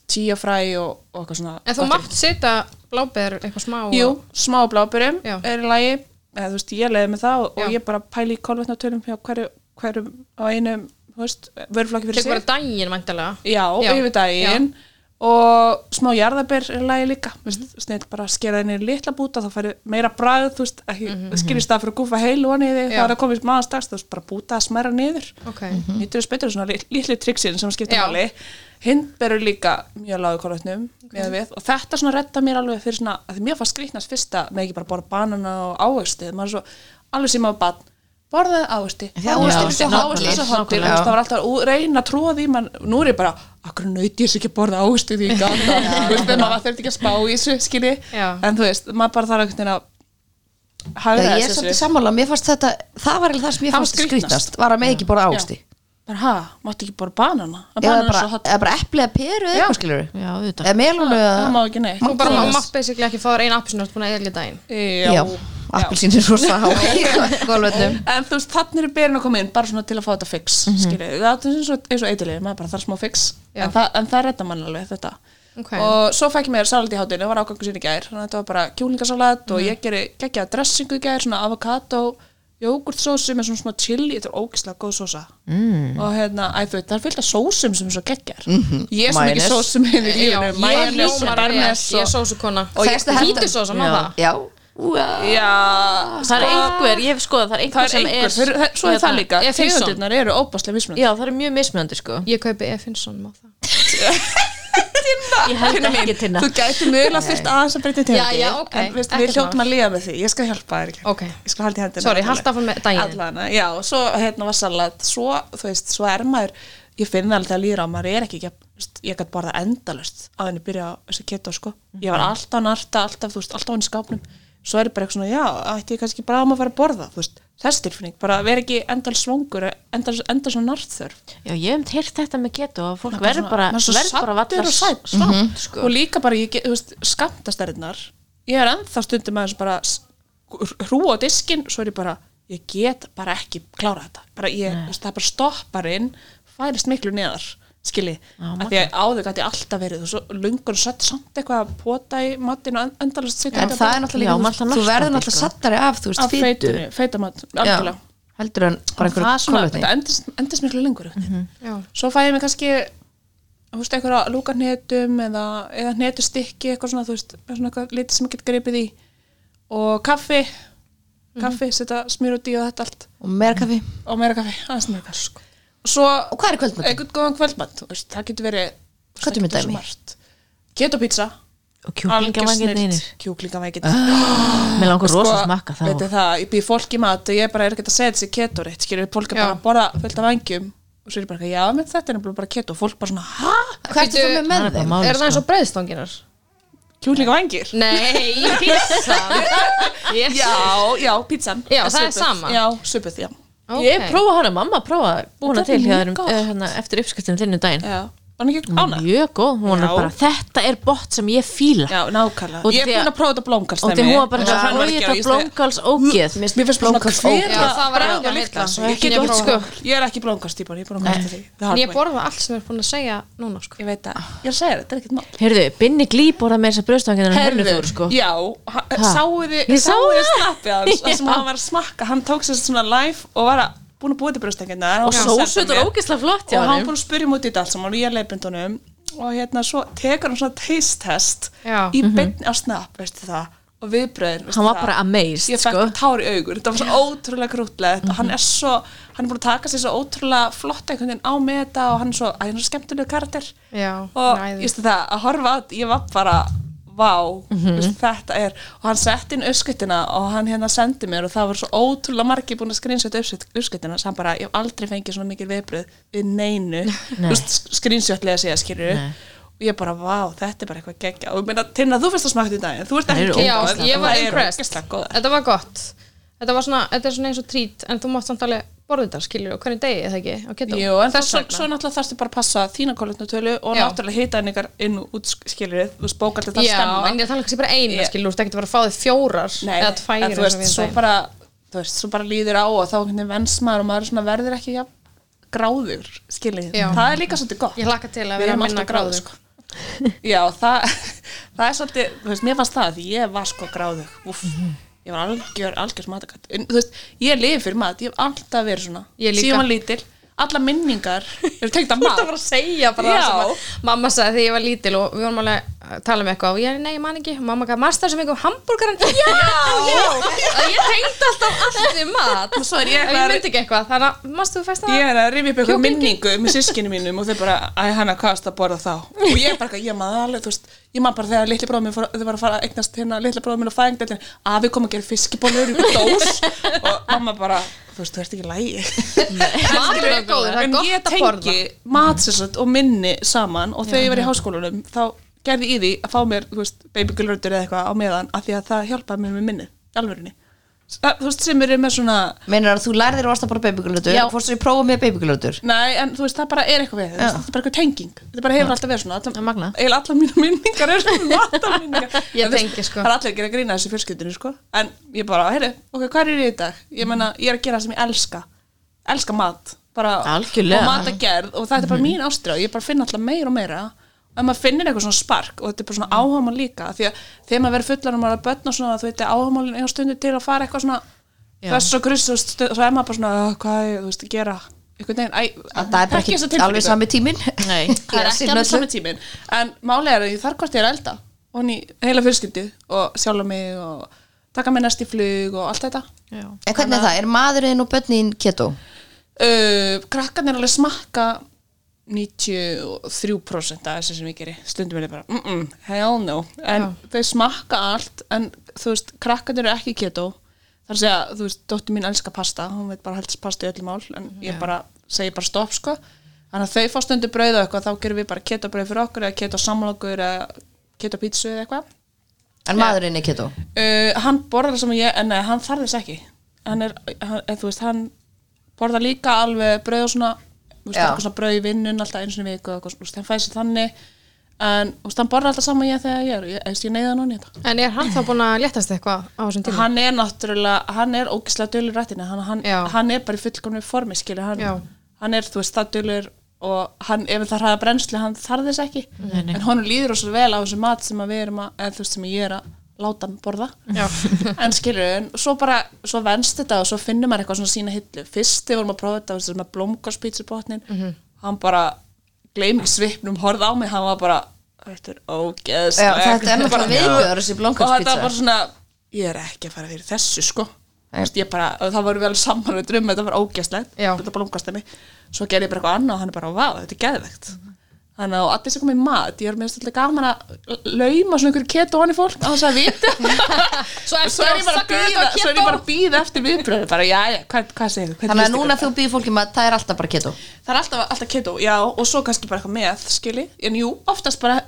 C: tíafræ og, og eitthvað svona
A: En þú
C: gott.
A: mátt setja blábeður eitthvað smá og-
C: Jú, smá blábyrjum
A: Já.
C: er í lagi eða þú veist, ég leiði með það og,
A: Já.
C: og ég bara pæli í kolvetnatölum hjá hverju, hverju á einum, þú veist, vörflokki fyrir
A: Tekur bara
C: sig
A: daginn mæntalega
C: Já,
A: Já.
C: yfir daginn og smá jarðabir er í lagi líka mm
A: Mhm.
C: -hmm. snill bara að skera henni litla búta þá færi meira bragð, þú veist, ekki mm -hmm. skilist það fyrir að gúfa heil og niður
A: Mhm, Já.
C: þá er það komið maður strax, þú veist, bara búta að smæra niður
A: Ok
C: nýttur þess betur svona lit- litlu triksin sem skipta
A: Já.
C: máli hind berur líka mjög lágu kolvetnum okay. og þetta svona retta mér alveg fyrir svona að því mér fannst skrýtnast fyrsta með ekki bara borða banana og ávexti maður er svo alveg sem á bann borðaði ávexti, ávexti,
D: Því ávextir-
C: ávexti, ávexti,
D: nákvæmlega,
C: ávexti, ávexti
D: nákvæmlega.
C: það var alltaf að ú- reyna að trúa því mann, nú er ég bara, akkur nöyti ég sér ekki að borða ávexti því ég gata, þú veist, en maður þurfti ekki að spá í þessu, skilji,
A: Já.
C: en þú veist maður bara þarf einhvern veginn að hafa
D: Já, ég er svolítið sammála, mér fannst þetta það var eiginlega það sem ég
C: Það var
D: fannst
C: skrýtnast.
D: skrýtnast var að með ekki borða ásti
C: bara ha, máttu ekki bara banana að
D: eða
C: banana er
D: bara,
C: svo hot
D: eða bara epli eða peru eða eitthvað skilur
B: já, auðvitað
D: eða melónu
C: það má
D: eða
C: ekki neitt
A: Þú bara
D: Mangólas.
A: mátt basically ekki fá þér eina appelsinu og þú ert búin að eðla daginn.
C: já,
D: já, appelsín er svo sá gólvöldum
C: en þú veist, þannig er berin að koma inn bara svona til að fá þetta fix mm það er eins og, eins og eitilið, maður bara þarf smá fix
A: Mhm. Já.
C: en, það- en það redda mann alveg þetta
A: Ok.
C: og svo fæk ég mér salat í hátinu það var ágangu sinni í gær, þannig að þetta var bara kjúlingasalat
A: Mhm.
C: og ég geri geggjaða dressingu í gær svona avokado, jógurtsósu með svona smá chili, þetta er ógislega góð sósa mm. og hérna, æ, þú veit, það er fullt af sósum sem er svo geggjar ég er svo mikið
D: Mayonnaise.
C: sósum hérna í
A: Mhm. Já, ég
C: lífinu, majónes og
A: hljómar vel.
C: bernes
A: Ég er
C: og
A: sósukona.
D: Og ég-
A: Hvítusósa, má það?
D: já, Úa.
C: já,
B: það er einhver, ég hef skoðað það er
C: það
B: einhver
C: er
B: sem
C: einhver, þeir,
B: er
C: þeir, svo er það
B: hérna,
C: líka
A: ég finn svo.
C: tegundirnar eru óbáslega mismunandi
B: já, það er mjög mismunandi sko
A: Ég kaupi Efinsson, má það?
B: ég held ekki til
C: Ah, Þú gæti mögulega þurft aðeins að breyta í
A: hérna. Já,
C: tegundinni
A: já, ok.
C: En veist,
A: Ekkert
C: við hljóttum að líða með því, ég skal hjálpa þér ekki
A: Ok.
C: Ég skal halda í hendina
A: Sorry, haltu áfram með daginn.
C: Allana, já, og svo hérna var salat Svo, þú veist, svo er maður Ég finn alveg að líra á maður er ekki jafn- þú veist, Ég gæti bara það endalust að henni byrja á þessi keto sko Ég
A: Mhm.
C: var alltaf narta, alltaf, þú veist, alltaf hann í skápnum Svo er ég bara eitthvað svona, já, ætti ég kannski bara um að fara að borða Þú veist, þess tilfinning, bara vera ekki endal svangur Endal, endal svona nartþörf
B: já, ég hef heyrt þetta með getu og fólk
C: Maður
B: verður bara
C: maður er svo
B: verður bara
C: saddur
B: vallar
C: og sæt, svamt, sko. og líka bara, ég, get- þú veist, skamtastæriðnar ég er ennþá stundum aðeins bara hrú á diskin, svo er ég bara ég get bara ekki klára þetta bara ég, þú veist, það er bara stopparinn færist miklu neðar, skilji af því að áður gæti alltaf verið og svo lungur og sött samt eitthvað að pota í matinn og endalast sitja
D: en það er
B: Já,
D: náttúrulega
B: maður
D: líka,
B: alltaf
D: þú verður
B: nartandi,
D: náttúrulega
B: sko.
D: sattari af þú
C: af
D: veist, fytu
C: feitunni, feitamat,
D: Já,
C: algjörlega
D: heldur en bara Mhm.
B: það er
D: einhverjum
B: svona-
D: kólvöldni
C: þetta endist, endist miklu lengur mm -hmm.
A: Já.
C: svo fæ ég mig kannski þú veist, einhverja lúkarnetum eða, eða netustykki, eitthvað svona, þú veist svona eitthvað litið sem ég get gripið í og kaffi
D: Mhm.
C: kaffi, setja smjur út í og þetta allt
D: og meira kaffi
C: og meira kaffi, aðeins meira kaffi sko. og svo
D: og hvað er kvöldmatur?
C: einhvern góðan kvöldmatt, þú veist, það getur verið þú veist,
D: Hvað
C: það
D: er með
C: getur svo
D: dæmi?
C: margt. Keto pizza,
B: og kjúklingavangirni
C: algjör
B: einir
C: snilld, kjúklingavængirnir
B: mér langar
C: Sko,
B: rosa að smakka það
C: veitir það, ég býð fólki mat og ég bara er ekkert að segja þessi keto rétt skilur, fólk er
A: Já.
C: bara að borða fullt af vangjum og svo er ég bara, eitthvað, já, menn þetta er nefnilega bara keto og fólk bara svona, hæ?
D: hvað ertu
A: Bíddu,
D: þú
B: það
D: með með
B: er bara
D: þeim?
B: málið,
A: Er það eins
B: sko.
A: og breiðstanginar?
C: Kjúklinga vangjir?
A: Nei, pissan. Yes.
C: Já, já, pizzan
A: Já,
C: Eh,
A: það er
C: suppuð.
A: sama.
C: Já, suppuð, já
A: Ok.
B: ég prófa hana, mamma prófa búin að
C: Þetta er
B: til hjá
C: mjög
B: þér um,
C: gott.
B: eh, hérna, eftir uppskriftinu þinnu daginn
C: Já, var hann ekki ána?
B: mjög góð, hún er
C: Já.
B: bara þetta er bott sem ég fíla
C: Já, nákvæmlega
B: Og
C: Ég er
B: því að-
C: búin að prófa þetta blómkast
B: og því hún var bara já, og ég það blómkals ógeð
C: Mér finnst blómkast
A: Já, það var ekki að heilla.
C: Ég get
A: Ég
C: ekki
A: prófa.
C: sko Ég er ekki blómkast típan, ég er búin að kasta því The
A: En
C: hard
A: ég
C: way.
A: borða allt sem við erum búin að segja núna, sko.
C: Ég veit það, ég er að segja þér, þetta er ekkert mál
B: heyrðu, Binni Glý borða með þess að brjóðstangina hennu þúr sko
C: já,
B: Ha?
C: sáuði
B: Ég sá
C: sáuði
B: það.
C: snappið hans þar sem
B: Já.
C: hann var að smakka, hann tók sér svona live og var að búin að búa til brjóstengina
B: og sósut og ógeðslega flott hjá
C: og hann
B: hann
C: búin að spyrja mútið þetta allt saman og ég leipið honum og hérna svo tekur hann svona taste test
A: Já.
C: í beinni á snapp, veistu það og viðbröðin,
B: Mhm.
C: veistu
B: hann var
C: það
B: bara amazed
C: ég fekk
B: sko Mhm.
C: tár í augur, þetta var svo ótrúlega krútlegt og hann er svo, hann er búin að taka sér svo ótrúlega flott einhvern veginn á með þetta og hann er svo, æ, hann er svo skemmtilegu karakter
A: Já,
C: og
A: næði.
C: ég veist það, að horfa á þetta, ég var bara vá, mm þetta er og hann sett inn uppskuttina og hann hérna sendi mér og það var svo ótrúlega margir búin að skrýnsjöta uppskuttina, sem bara, ég hef aldrei fengið svona mikil viðbröð við neinu
B: Nei.
C: skrýnsjötlega að segja skýrur
B: Nei.
C: og ég bara, vá, þetta er bara eitthvað geggja og ég meina, Tinna, þú finnst að smakka þetta í daginn þú ert
B: Þær
C: ekki
B: eru
A: Já,
C: kynnt,
A: ég var
C: þær eru
A: impressed.
C: ógeðslega góðar.
A: Þetta var gott. Þetta var svona, þetta er svona eins og trít, en þú mátt samt alveg borða þetta, skilur, og hvernig degi, eða ekki? á keto?
C: Jú, en
A: Þess
C: þess
A: vegna.
C: svo náttúrulega þarfstu bara að passa þína kolvetnatölu og
A: Já.
C: náttúrulega hita henni ykkar inn og út skilrið, þú veist, bókaldi það
A: Já,
C: stemma
A: en ég tala kannski bara eina,
C: Ég-
A: skilur, þú ert ekki að vera að fá þig fjórar
C: Nei,
A: eða tvær
C: en þú
A: eins og
C: veist,
A: við
C: svo
A: daginn.
C: bara þú veist, svo bara líður á og þá hvernig venns maður og maður svona verður ekki ja, gráður, skilrið,
A: Já.
C: það er líka svolítið gott
A: Ég hlakka til að
C: Við
A: vera
C: erum
A: minna
C: alltaf gráðug,
A: gráður.
C: Já, það, það er svolítið, þú veist, mér fannst það því ég var sko gráðug, úff,
A: Mhm.
C: ég var algjör, algjör matakatt, En, þú veist, ég lifi fyrir mat, ég hef alltaf verið svona,
A: Ég líka.
C: síðan var lítil, alla minningar eru tengt að mat.
A: Það var að segja bara
C: Já.
A: það sem að mamma sagði þegar ég var lítil og við vorum alveg að tala um eitthvað og ég, nei, ég man ekki, mamma gaf master sem einhver hambúrgaran Já, já, að ég tengdi alltaf allt við mat og
C: svo er ég
A: eitthvað
C: eitthvað-
A: Ég myndi ekki eitthvað, þannig að master þú fæst það
C: Ég er að rifja upp eitthvað
A: Kjúklingi.
C: minningu með sískinu mínum og þau bara, æ, hana, hvað varst að borða þá? Og ég bara, eitthvað, ég maður alveg, þú veist, ég maður bara þegar litli bróðum minn, fór- þau var að fara að eignast hérna, litli bróðum minn og fæðingdællin, að við komum að gera fiskibólur í dós og mamma bara, þú veist, þú ert ekki lægi.
A: Matur er góður, það er
C: En ég
A: gott að borða
C: tengi matsessat og minni saman og þegar ég var í háskólanum, þá gerði ég í því að fá mér, þú veist, babygulröndur eða eitthvað á meðan, af því að það hjálpaði mér með minni, alvörunni. að, þú veist, sem eru með svona
D: Meinar að þú lærðir og varst að bara babyglötur
B: Já.
D: Fórstu í prófa með babyglötur
C: Nei, en þú veist, það bara er eitthvað við þetta, þetta er bara eitthvað tenging, þetta bara hefur alltaf verið svona
B: Það er
C: allar,
B: magnað.
C: eiginlega allar mínu minningar eru svona allar minningar
A: Ég
C: En þú veist,
A: tengi, sko.
C: Það er allir að gera grína þessu fjölskyldinu, sko En ég bara, heyrðu, ok, hvað er ég í dag? Ég meina, ég er að gera það sem ég elska Elska mat, bara
B: Algjörlega.
C: Og matagerð, og þetta er bara mín ástríða og Ég bara finn alltaf meira og meira Og ef maður finnir eitthvað svona spark og þetta er bara svona áhámál líka af Því að þegar maður verður fullar og maður er að börn og svona Þú veit, áhámálin eiga stundu til að fara eitthvað svona Þess og grist, þú veist, svo er maður bara svona "Ah, Hvað, er ég, þú veist, að gera einhvern veginn, æ,
D: Það er bara
C: þekki þessa
D: ekki
C: tilfinningu.
D: alveg sami tímin
B: Nei.
C: það er ekki alveg sami tímin en málega er að ég þarf hvort ég er að elda og hann í heila fyrskildi og sjálfa mig og taka mig næst í flug og allt þetta
B: Já.
D: En hvernig er það? Er maðurinn og börnin keto?
C: uh, krakkan er alveg smakka 93% af þessu sem ég geri stundum er ég bara, mm -mm, hell no en þau smakka allt en þú veist, krakkan eru ekki keto þar sé að, þú veist, dóttir mín elskar pasta hún veit bara heldast pasta í öllum mál en ég bara, segi bara stopp sko þannig að þau fá stundu brauð og eitthvað, þá gerum við bara keto brauð fyrir okkur eða keto samlokur eða keto pítsu eða eitthvað
D: En maðurinn er keto?
C: uh, hann borðar það sem ég en nei, hann þarf þess ekki hann er, hann, eð, þú veist, hann borðar líka alveg brauð og svona þú veist,
D: Já.
C: eitthvað svona brauð í vinnun alltaf eins og í viku og eitthvað, þú veist, hann fæsir þannig en þú veist, hann borðar alltaf saman ég þegar ég er ég, ég, ég neyða hann á nýta
A: En er hann þá búin að léttast eitthvað á þessum tíma?
C: hann er náttúrulega, hann er ógislega dölur rættinu, hann, hann,
A: Já.
C: hann er bara í fullkomnu formi, skilur,
A: Já.
C: hann, hann er þú veist, það dölur og hann, ef það hraða brennslu, hann þarf þess ekki nei, nei. en honum líður svo vel á þessu mat sem að við erum að, eða þú veist, sem ég er að láta hann borða en skilur, en svo bara svo venst þetta og svo finnur maður eitthvað svona sína hillu fyrst þegar vorum að prófa þetta, þessum að blómkarspítsubotnin mm -hmm. hann bara gleym ekki svipnum, horfði á mig, hann var bara Þetta er ógeðs
D: Já, þetta er náttúrulega viðbjör, þessi blómkálspizza.
C: Og þetta var bara svona, ég er ekki að fara fyrir þessu sko
D: Nei.
C: Vist, ég bara, og það voru vel saman við drum þetta var ógæstlegt,
A: Já.
C: þetta blómkastemi svo gerði ég bara eitthvað annað og hann er bara, vá, þetta er geðvegt þannig að og allir sem kom í mat ég er mér svolítið gaman að lauma svona einhverju keto honni fólk á þess að vita svo,
A: eftir á
C: er ég
A: saknar þetta
C: bara að bíða
A: keto.
C: svo er ég bara að bíða eftir viðbröðu bara, já, já, hvað, hvað segir þú
D: Þannig að núna þú býður fólki um að það er alltaf bara keto
C: það er alltaf, alltaf keto, já, og svo kannski bara eitthvað með, skili, en jú, oftast bara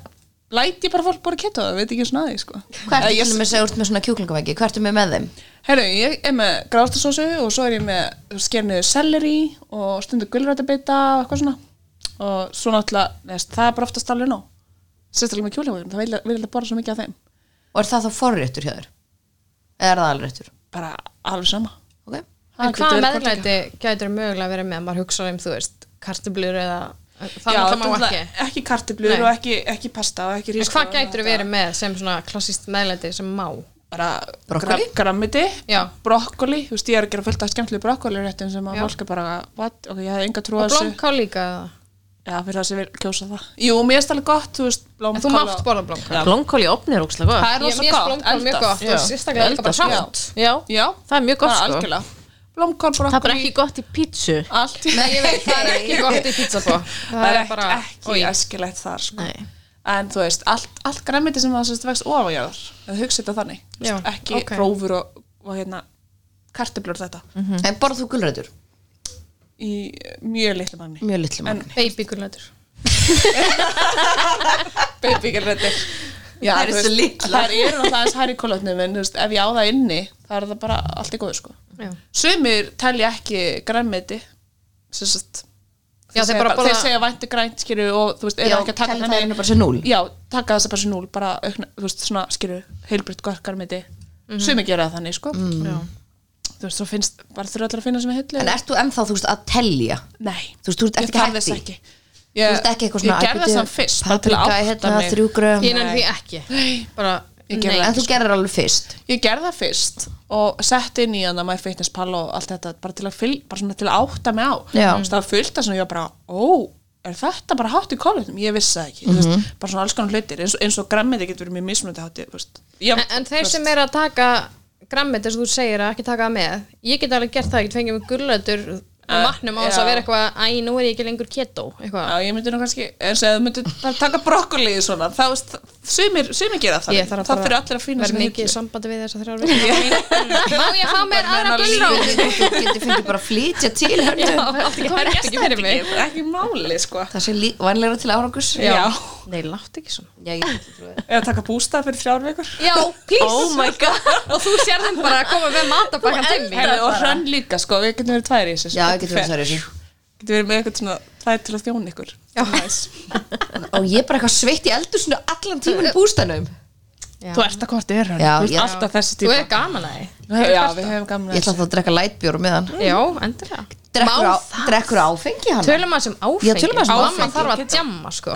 C: læt ég bara fólk bara keto, það veit ekki svona að því, sko.
D: Hvað
C: Eh,
D: ertu
C: ég-
D: til dæmis að þú ert með svona kjúklingaveggi? Hvað ertu með með þeim?
C: Herru, ég er með grástasósu og svo er ég með skerniðu selleri og stundu gulrætabita og eitthvað svona og svo náttúrulega, neðst, það er bara oftast alveg nóg sérstaklega með kjólingum, það vil vil ég borða svo mikið af þeim
D: Og er það þá forréttur hjá þér? Eða er það alréttur?
C: bara alveg sama
D: Okay.
A: En
C: Það getur
A: hvaða
C: verið hvort
A: meðlæti gætur mögulega verið með? Maður hugsa um, þú veist, kartublur eða
C: Já,
A: það náttúrulega má
C: náttúrulega
A: ekki.
C: ekki kartiblur
A: Nei.
C: og ekki, ekki pasta og ekki
A: En
C: rísko
A: hvað gætur verið með sem svona klassist meðlæti sem má?
C: bara
D: Brokkoli?
C: gra- grammiti,
A: Já.
C: brokkoli þú veist, ég er að gera fullt af skemmtlu brokkoli réttum sem að
A: Já.
C: fólk er bara, what, ok, ég hef enga trú á
A: Og
C: þessu
A: blómkál líka? eða?
C: já, fyrir það sem vil kjósa það jú, mér er stærlega gott, þú veist,
A: En þú
C: blómkál
A: mátt
C: og-
A: borða blómkál.
C: Já.
B: Blómkál í opni er ókslega gott.
C: það er
A: Ég-
C: rosa
A: mér
C: gott,
A: blómkál mjög
C: eldað.
A: gott og sérstaklega líka bara
B: Eldast,
A: hrátt.
B: já. Já.
C: Já,
B: Það er mjög gott,
C: það
B: sko.
C: algjörlega. Blómkál, brokkoli,
B: Það er bara ekki gott í pítsu.
C: allt í
A: Nei, ég veit, það er ekki gott í pizza sko. bó.
C: það er ekki, ekki æskilegt þar sko.
B: Nei.
C: en þú veist, allt, allt græmiti sem það sérst vext ofanjarðar, það hugsa þetta þannig Þú veist,
A: Já,
C: ekki
A: ok.
C: rófur og, og hérna, kartiblur þetta
D: En borð þú gulrætur?
C: í mjög litlu manni
D: Mjög litlu mann
A: Babygulætur.
C: babygirrættir Já,
D: Það eru
C: þú veist,
D: svo litlar.
C: þær eru náttúrulega aðeins hær í kolotnum en þú veist, ef ég á það inni þá er það bara allt í góðu sko
A: Já.
C: sumir telja ekki grænmeti sem sagt
A: Já,
C: þeir
A: þeir
C: segja
A: bara
C: bara- þeir
A: borða-
C: segja vænti grænt skýru og þú veist, eru
D: Já,
C: ekki að taka
D: telja
C: það
D: það
C: með
D: einu bara sem núll.
C: já, taka þess að bara sem núl, bara aukna, þú veist, svona skýru, heilbritt gott grænmeti
D: Mhm.
C: sumir gera það þannig sko þú veist, þú finnst, bara þurfa allir að finna sem er hillu
D: Mm. En ert þú ennþá, þú veist, að telja?
C: nei,
D: Þú veist, þú ert
C: ég
D: ekki hætt
C: þarf
D: í?
C: þess ekki ég,
D: Þú veist ekki eitthvað svona
C: ég gerði
D: æ,
C: þess
D: bíddu,
C: að fyrst, bara til að
D: Paprika,
C: átta
D: hérna,
C: mig
D: þrjú grömm
A: Ég nefnir því ekki. Bara,
C: Ég gerði
A: nei.
D: En þú gerir alveg fyrst
C: Ég gerði það fyrst og sett inn í hann að maður fitnesspall og allt þetta bara til að, fyl, bara svona til að átta mig á
D: Já.
C: Þú veist, það var fullt að svona ég var bara ó, er þetta bara hátt í kolvetnum? Ég vissi það ekki, mm veist,
A: Mhm.
C: bara svona alls konar hlutir eins, og- eins og grammið getur verið mjög mismunandi hátt í, þú veist. Ég,
A: En, en þeir sem er að taka grammit eins og þú segir að ekki taka það með ég get alveg gert það, ég get fengið mig gullætur og matnum á þess að
C: já.
A: vera eitthvað æ, nú er ég ekki lengur keto eitthvað.
C: Já, ég myndi nú kannski, eins og ef þú myndir bara taka brokkolið svona, þá veist, sumir, sumir gera það,
A: Ég þarf að
C: það
A: bara
C: fyrir allir að finna
A: vera
C: sem
A: mikið í
C: hillu.
A: sambandi við þess að þrjár vikur Má ég fá mér aðra gulrót?
D: Þú getur fengið bara að flytja til hönnu
A: Já, allt í góðu, ekki fyrir mig
C: Ekki máli, sko.
D: Það sé vanlegra til árangus
C: Já.
A: Nei, látt ekki svona
D: Já, ég get ekki trúið.
C: eða taka bústað fyrir þrjár vikur
A: Já, please
B: Oh my god
A: Og þú sér þeim bara að koma með matabakkan til mín
C: Heyrðu, og hrönn líka sko, við getum verið tvær í þessu
D: Já, ég get trúið þessari þessu.
C: getum verið með eitthvað svona tvær til að þjóna ykkur
A: Já.
C: Nice.
D: og ég er bara eitthvað sveitt í eldur svona allan tíman í bústænum
A: Já.
C: þú ert að hvort er hann,
D: Já,
C: þú ert
D: já.
C: alltaf þessi
A: Þú
C: típa
A: er gaman að þið
C: já, við hefum gamla
D: ég ætla þá að drekka lightbjór með hann
A: Já, endilega
D: drekkur,
A: Má
D: á,
A: það?
D: drekkur áfengi hann
A: Tölum að sem áfengi
D: Já, tölum aðeins um
A: Mamma
D: áfengi.
A: þarf að djamma sko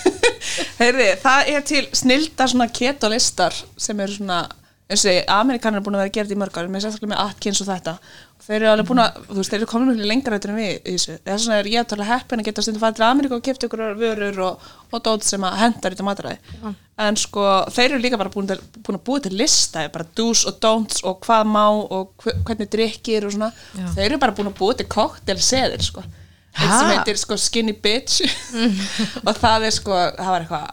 C: Heyrði, það er til snilda svona keto-listar sem eru svona, eins og Amerikanar er búin að vera að gera þetta í mörg ári, með sérstaklega með Atkins og þetta. Og þeir eru alveg búin að, þú veist, þeir eru komin miklu lengra auðvitað en við í þessu. Þess vegna er ég að tala heppin að geta stundum farið til Ameríku og kipta ykkur vörur og, og dót sem að hendar þetta mataræði. En sko, þeir eru líka bara búin að, búin að búið til lista, bara do's og don'ts og hvað má og hve- hvernig drikkir og svona. Þeir eru bara búin að búið til koktelseðir, sko. Eitt sem
D: Ha?
C: heitir sko skinny bitch og það er sko, það var eitthvað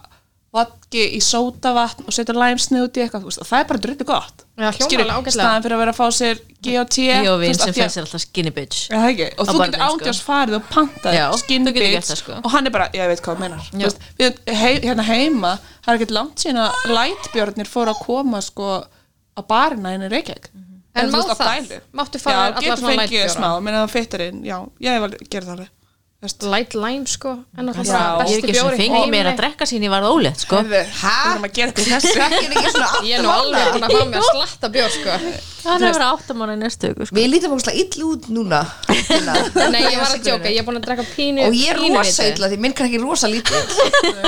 C: vodki í sótavatn og setja læmsni út í eitthvað, þú veist, og það er bara drullu gott
A: Já, hljómar alveg ágætlega.
C: staðan fyrir að vera að fá sér G og T
B: Ég og
C: þú
B: vin
C: veist,
B: sem
C: af því að-
B: fæst sér alltaf skinny bitch
C: Já, það er ekki, og
B: Á
C: þú
B: barnum,
C: getur
B: sko.
C: ándjás farið og pantað
B: Já,
C: skinny
B: þú getur gert
C: bitch
B: það, sko.
C: og hann er bara, ég veit hvað þú meinar Þú veist, við, hei, hérna heima, það er ekkert langt síðan að lightbjörnir fóru að koma sko á barina henni Reykjavík
A: En
C: Eða, þú
A: má
C: veist, á
A: það?
C: dælu.
A: Máttu fá þér
C: Já,
A: allar
C: getur
A: svona
C: fengið
A: lightbjóra?
C: smá, menn það fittar inn, já, ég var gerð það alveg Þú veist,
A: Light lime sko En það
C: Já.
A: bara
B: Ég hef
A: besti
B: ekki sem
A: bjóri
B: fengið mér að drekka sín ég var ólega sko
C: Hæ?
D: Hæ?
C: Við erum að gera eitthvað þessu
D: drekkur ekki svona um
A: Ég er nú alveg
D: aftur
A: búin að fá mér að slatta bjór sko
B: Það er að vera áttamára í næstu viku sko.
D: við lítum fólkslega ill út núna Una.
A: Nei, ég var að djóka, ég er búin að drekka pínu
D: og ég er
A: pínu
D: rosa
A: lítið.
D: illa því minn krakki er rosa lítið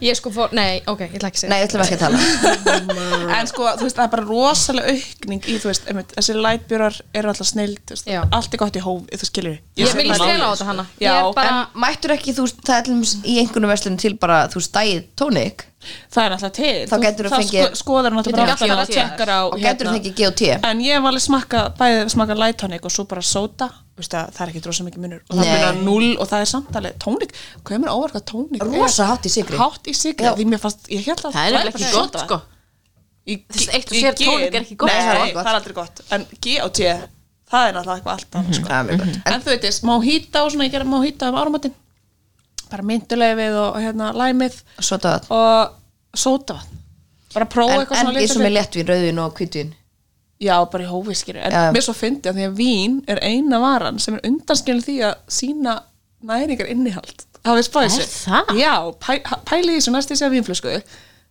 A: Ég sko fór, nei, ok, ég ætla ekki að segja
D: nei, ég ætlum ekki að tala
C: En sko, þú veist, það er bara rosalega aukning í, þú veist, einmitt, þessi lightbjörar eru alltaf snild, þú veist,
A: Já.
C: allt er gott í hóf, þú skilur
A: Ég vil ekki stela á þetta hana
C: Já,
A: Ég er bara,
D: en mættur ekki þú veist, það er til dæmis í einhvernum verslunum til bara þú veist, dæið tónik
C: Það er alltaf til.
D: Þá geturðu fengið-
C: Þá sko, skoðar hann alltaf
A: Getur
C: bara
A: ekki
C: alltaf
A: alltaf
C: að tjekkar á, hérna.
D: og getur það ekki G&T
C: En ég hef alveg smakka, bæði smakka light tonic og svo bara soda, þú veist að það er ekki drosa mikið munur. Og það
D: Nei.
C: munar null og það er samtalið tónik. Hvað er mér óvarka tónik?
D: Rosa hátt í sykri.
C: Hátt í sigri,
D: Já.
C: því mér fannst, ég held að
B: Það er nefnilega
C: bara
B: ekki gott
C: soda.
B: sko
C: Í-
B: Þessi eitt og
C: í
B: sér
C: gin-
B: tónik er ekki gott.
C: Nei, það
D: Nei, það
C: er,
D: er gott.
C: aldrei gott En G og T, það er náttúrulega eitthvað allt
B: Mhm.
C: annað sko.
D: það er mjög gott
C: en, þú veit, mojita og svona, ég gera mojita um áramáttin bara myndulegið og, og hérna læmið
D: en svo það
C: og sótavatn bara prófa
D: en,
C: eitthvað
D: en
C: svona
D: eins og
C: litla
D: með
C: hlut.
D: léttvín, rauðvín og kvítvin
C: Já, bara í hófiskir En
D: Já.
C: mér svo fyndi að því að vín er eina varan sem er undanskilin því að sína næringar innihald Það er spáðið
B: Er
C: sér
B: það?
C: Já, pæ, ha- pæli því sem næst ég sé að vínflösku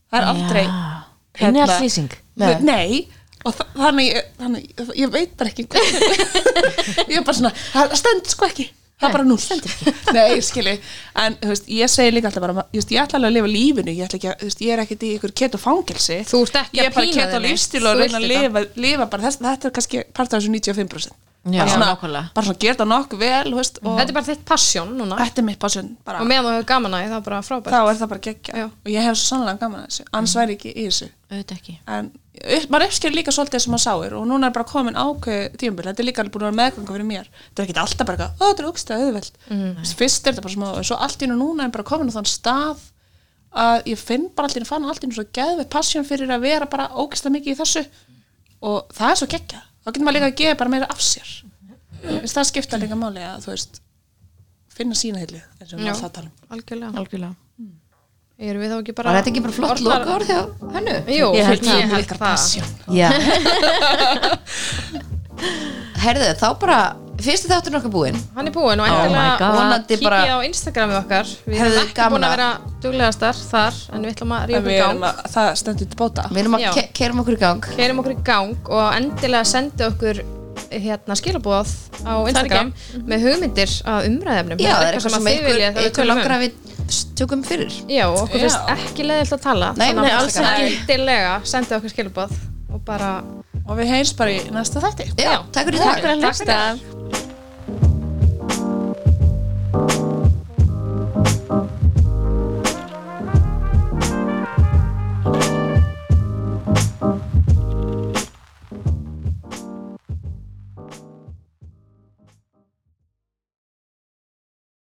C: Það er aldrei hérna-
B: Henni alls lýsing
D: Nei.
C: Nei, og þa- þannig, ég- þannig ég veit bara ekki hvað ég er bara svona, það stend sko ekki það er bara núl Nei, skilji, en þú veist, ég segi líka alltaf bara, þú veist, ég ætla alveg að lifa lífinu ég, ætla ekki að, þú veist, ég er ekkert í ykkur keto fangelsi
A: Þú ert ekki
C: ég
A: að
C: er bara
A: pína
C: keto
A: þig neitt.
C: lífstíl
A: Þú
C: og reyna að
A: vilt
C: lifa, lifa bara, þess, þetta er kannski part af þessu 95%
B: Já,
C: bara svona,
B: nákvæmlega.
C: bara svona gera það nokkuð vel þú veist, og
A: þetta er bara þitt passion núna
C: þetta er mitt passion bara,
A: Mm-hmm. Og meðan þú hefur gaman að því, það er bara frábært
C: þá er það bara geggja
A: Já. Mm-hmm.
C: og ég hef svo sannlega gaman að þessu, annars væri ég ekki í þessu
B: Auðvitað ekki
C: en upp- maður uppsker líka svolítið sem maður sáir og núna er bara komin ákveð tímabil þetta er líka alveg búin að vera meðganga fyrir mér þetta er ekki alltaf bara eitthvað, "Ó, þetta er ógstæða auðveld fyrst er þetta bara smá, en svo allt í nú núna er bara komin á þann stað að ég finn bara allt í nú fann allt í nú svo geðveitt passion fyrir að vera bara ógstæða mikið í þessu og það er svo geggja þá getur maður líka að gefa bara meira af sér Þess, það skipta líka máli að þú veist finna sína hillu eins og við
A: Já.
C: alltaf talum
A: Algjörlega,
D: algjörlega
A: erum við þá ekki bara
D: var þetta ekki bara flott
A: orðnar-
D: lokaður hjá hennu?
A: Jú,
B: Ég held það.
A: ég held það
D: já herðu, þá bara fyrsti þátturinn okkar búinn
A: Hann er búinn og
B: my God.
A: endilega
D: Oh vonandi
A: kíkja
D: bara
A: á Instagramið okkar Við
D: Hefðu
A: erum ekki
D: gaman
A: búin að
D: að-
A: vera duglegastar þar En við ætlum að
C: En
A: rífa
C: við
A: í
C: erum
A: gang
C: að- það stendur til bóta
D: við erum að
A: Já.
D: ke kerum okkur í gang
A: Kerum okkur í gang og endilega sendi okkur hérna skilabóð á Instagram Mhm. með hugmyndir að umræðefnum
D: já, það er eitthvað sem
A: að þið
D: ykkur,
A: viljið að við
D: ykkur
A: tölum um.
D: langar að við tökum fyrir
A: Já, og okkur
C: Já.
A: finnst ekki leðilt að tala
D: Nei,
A: þannig að
D: nei,
A: bara
D: alls ekki.
A: Endilega, sendi okkur skilabóð og bara
C: og við heyrst bara í næsta þætti
D: já, takk fyrir í dag
A: Takk fyrir.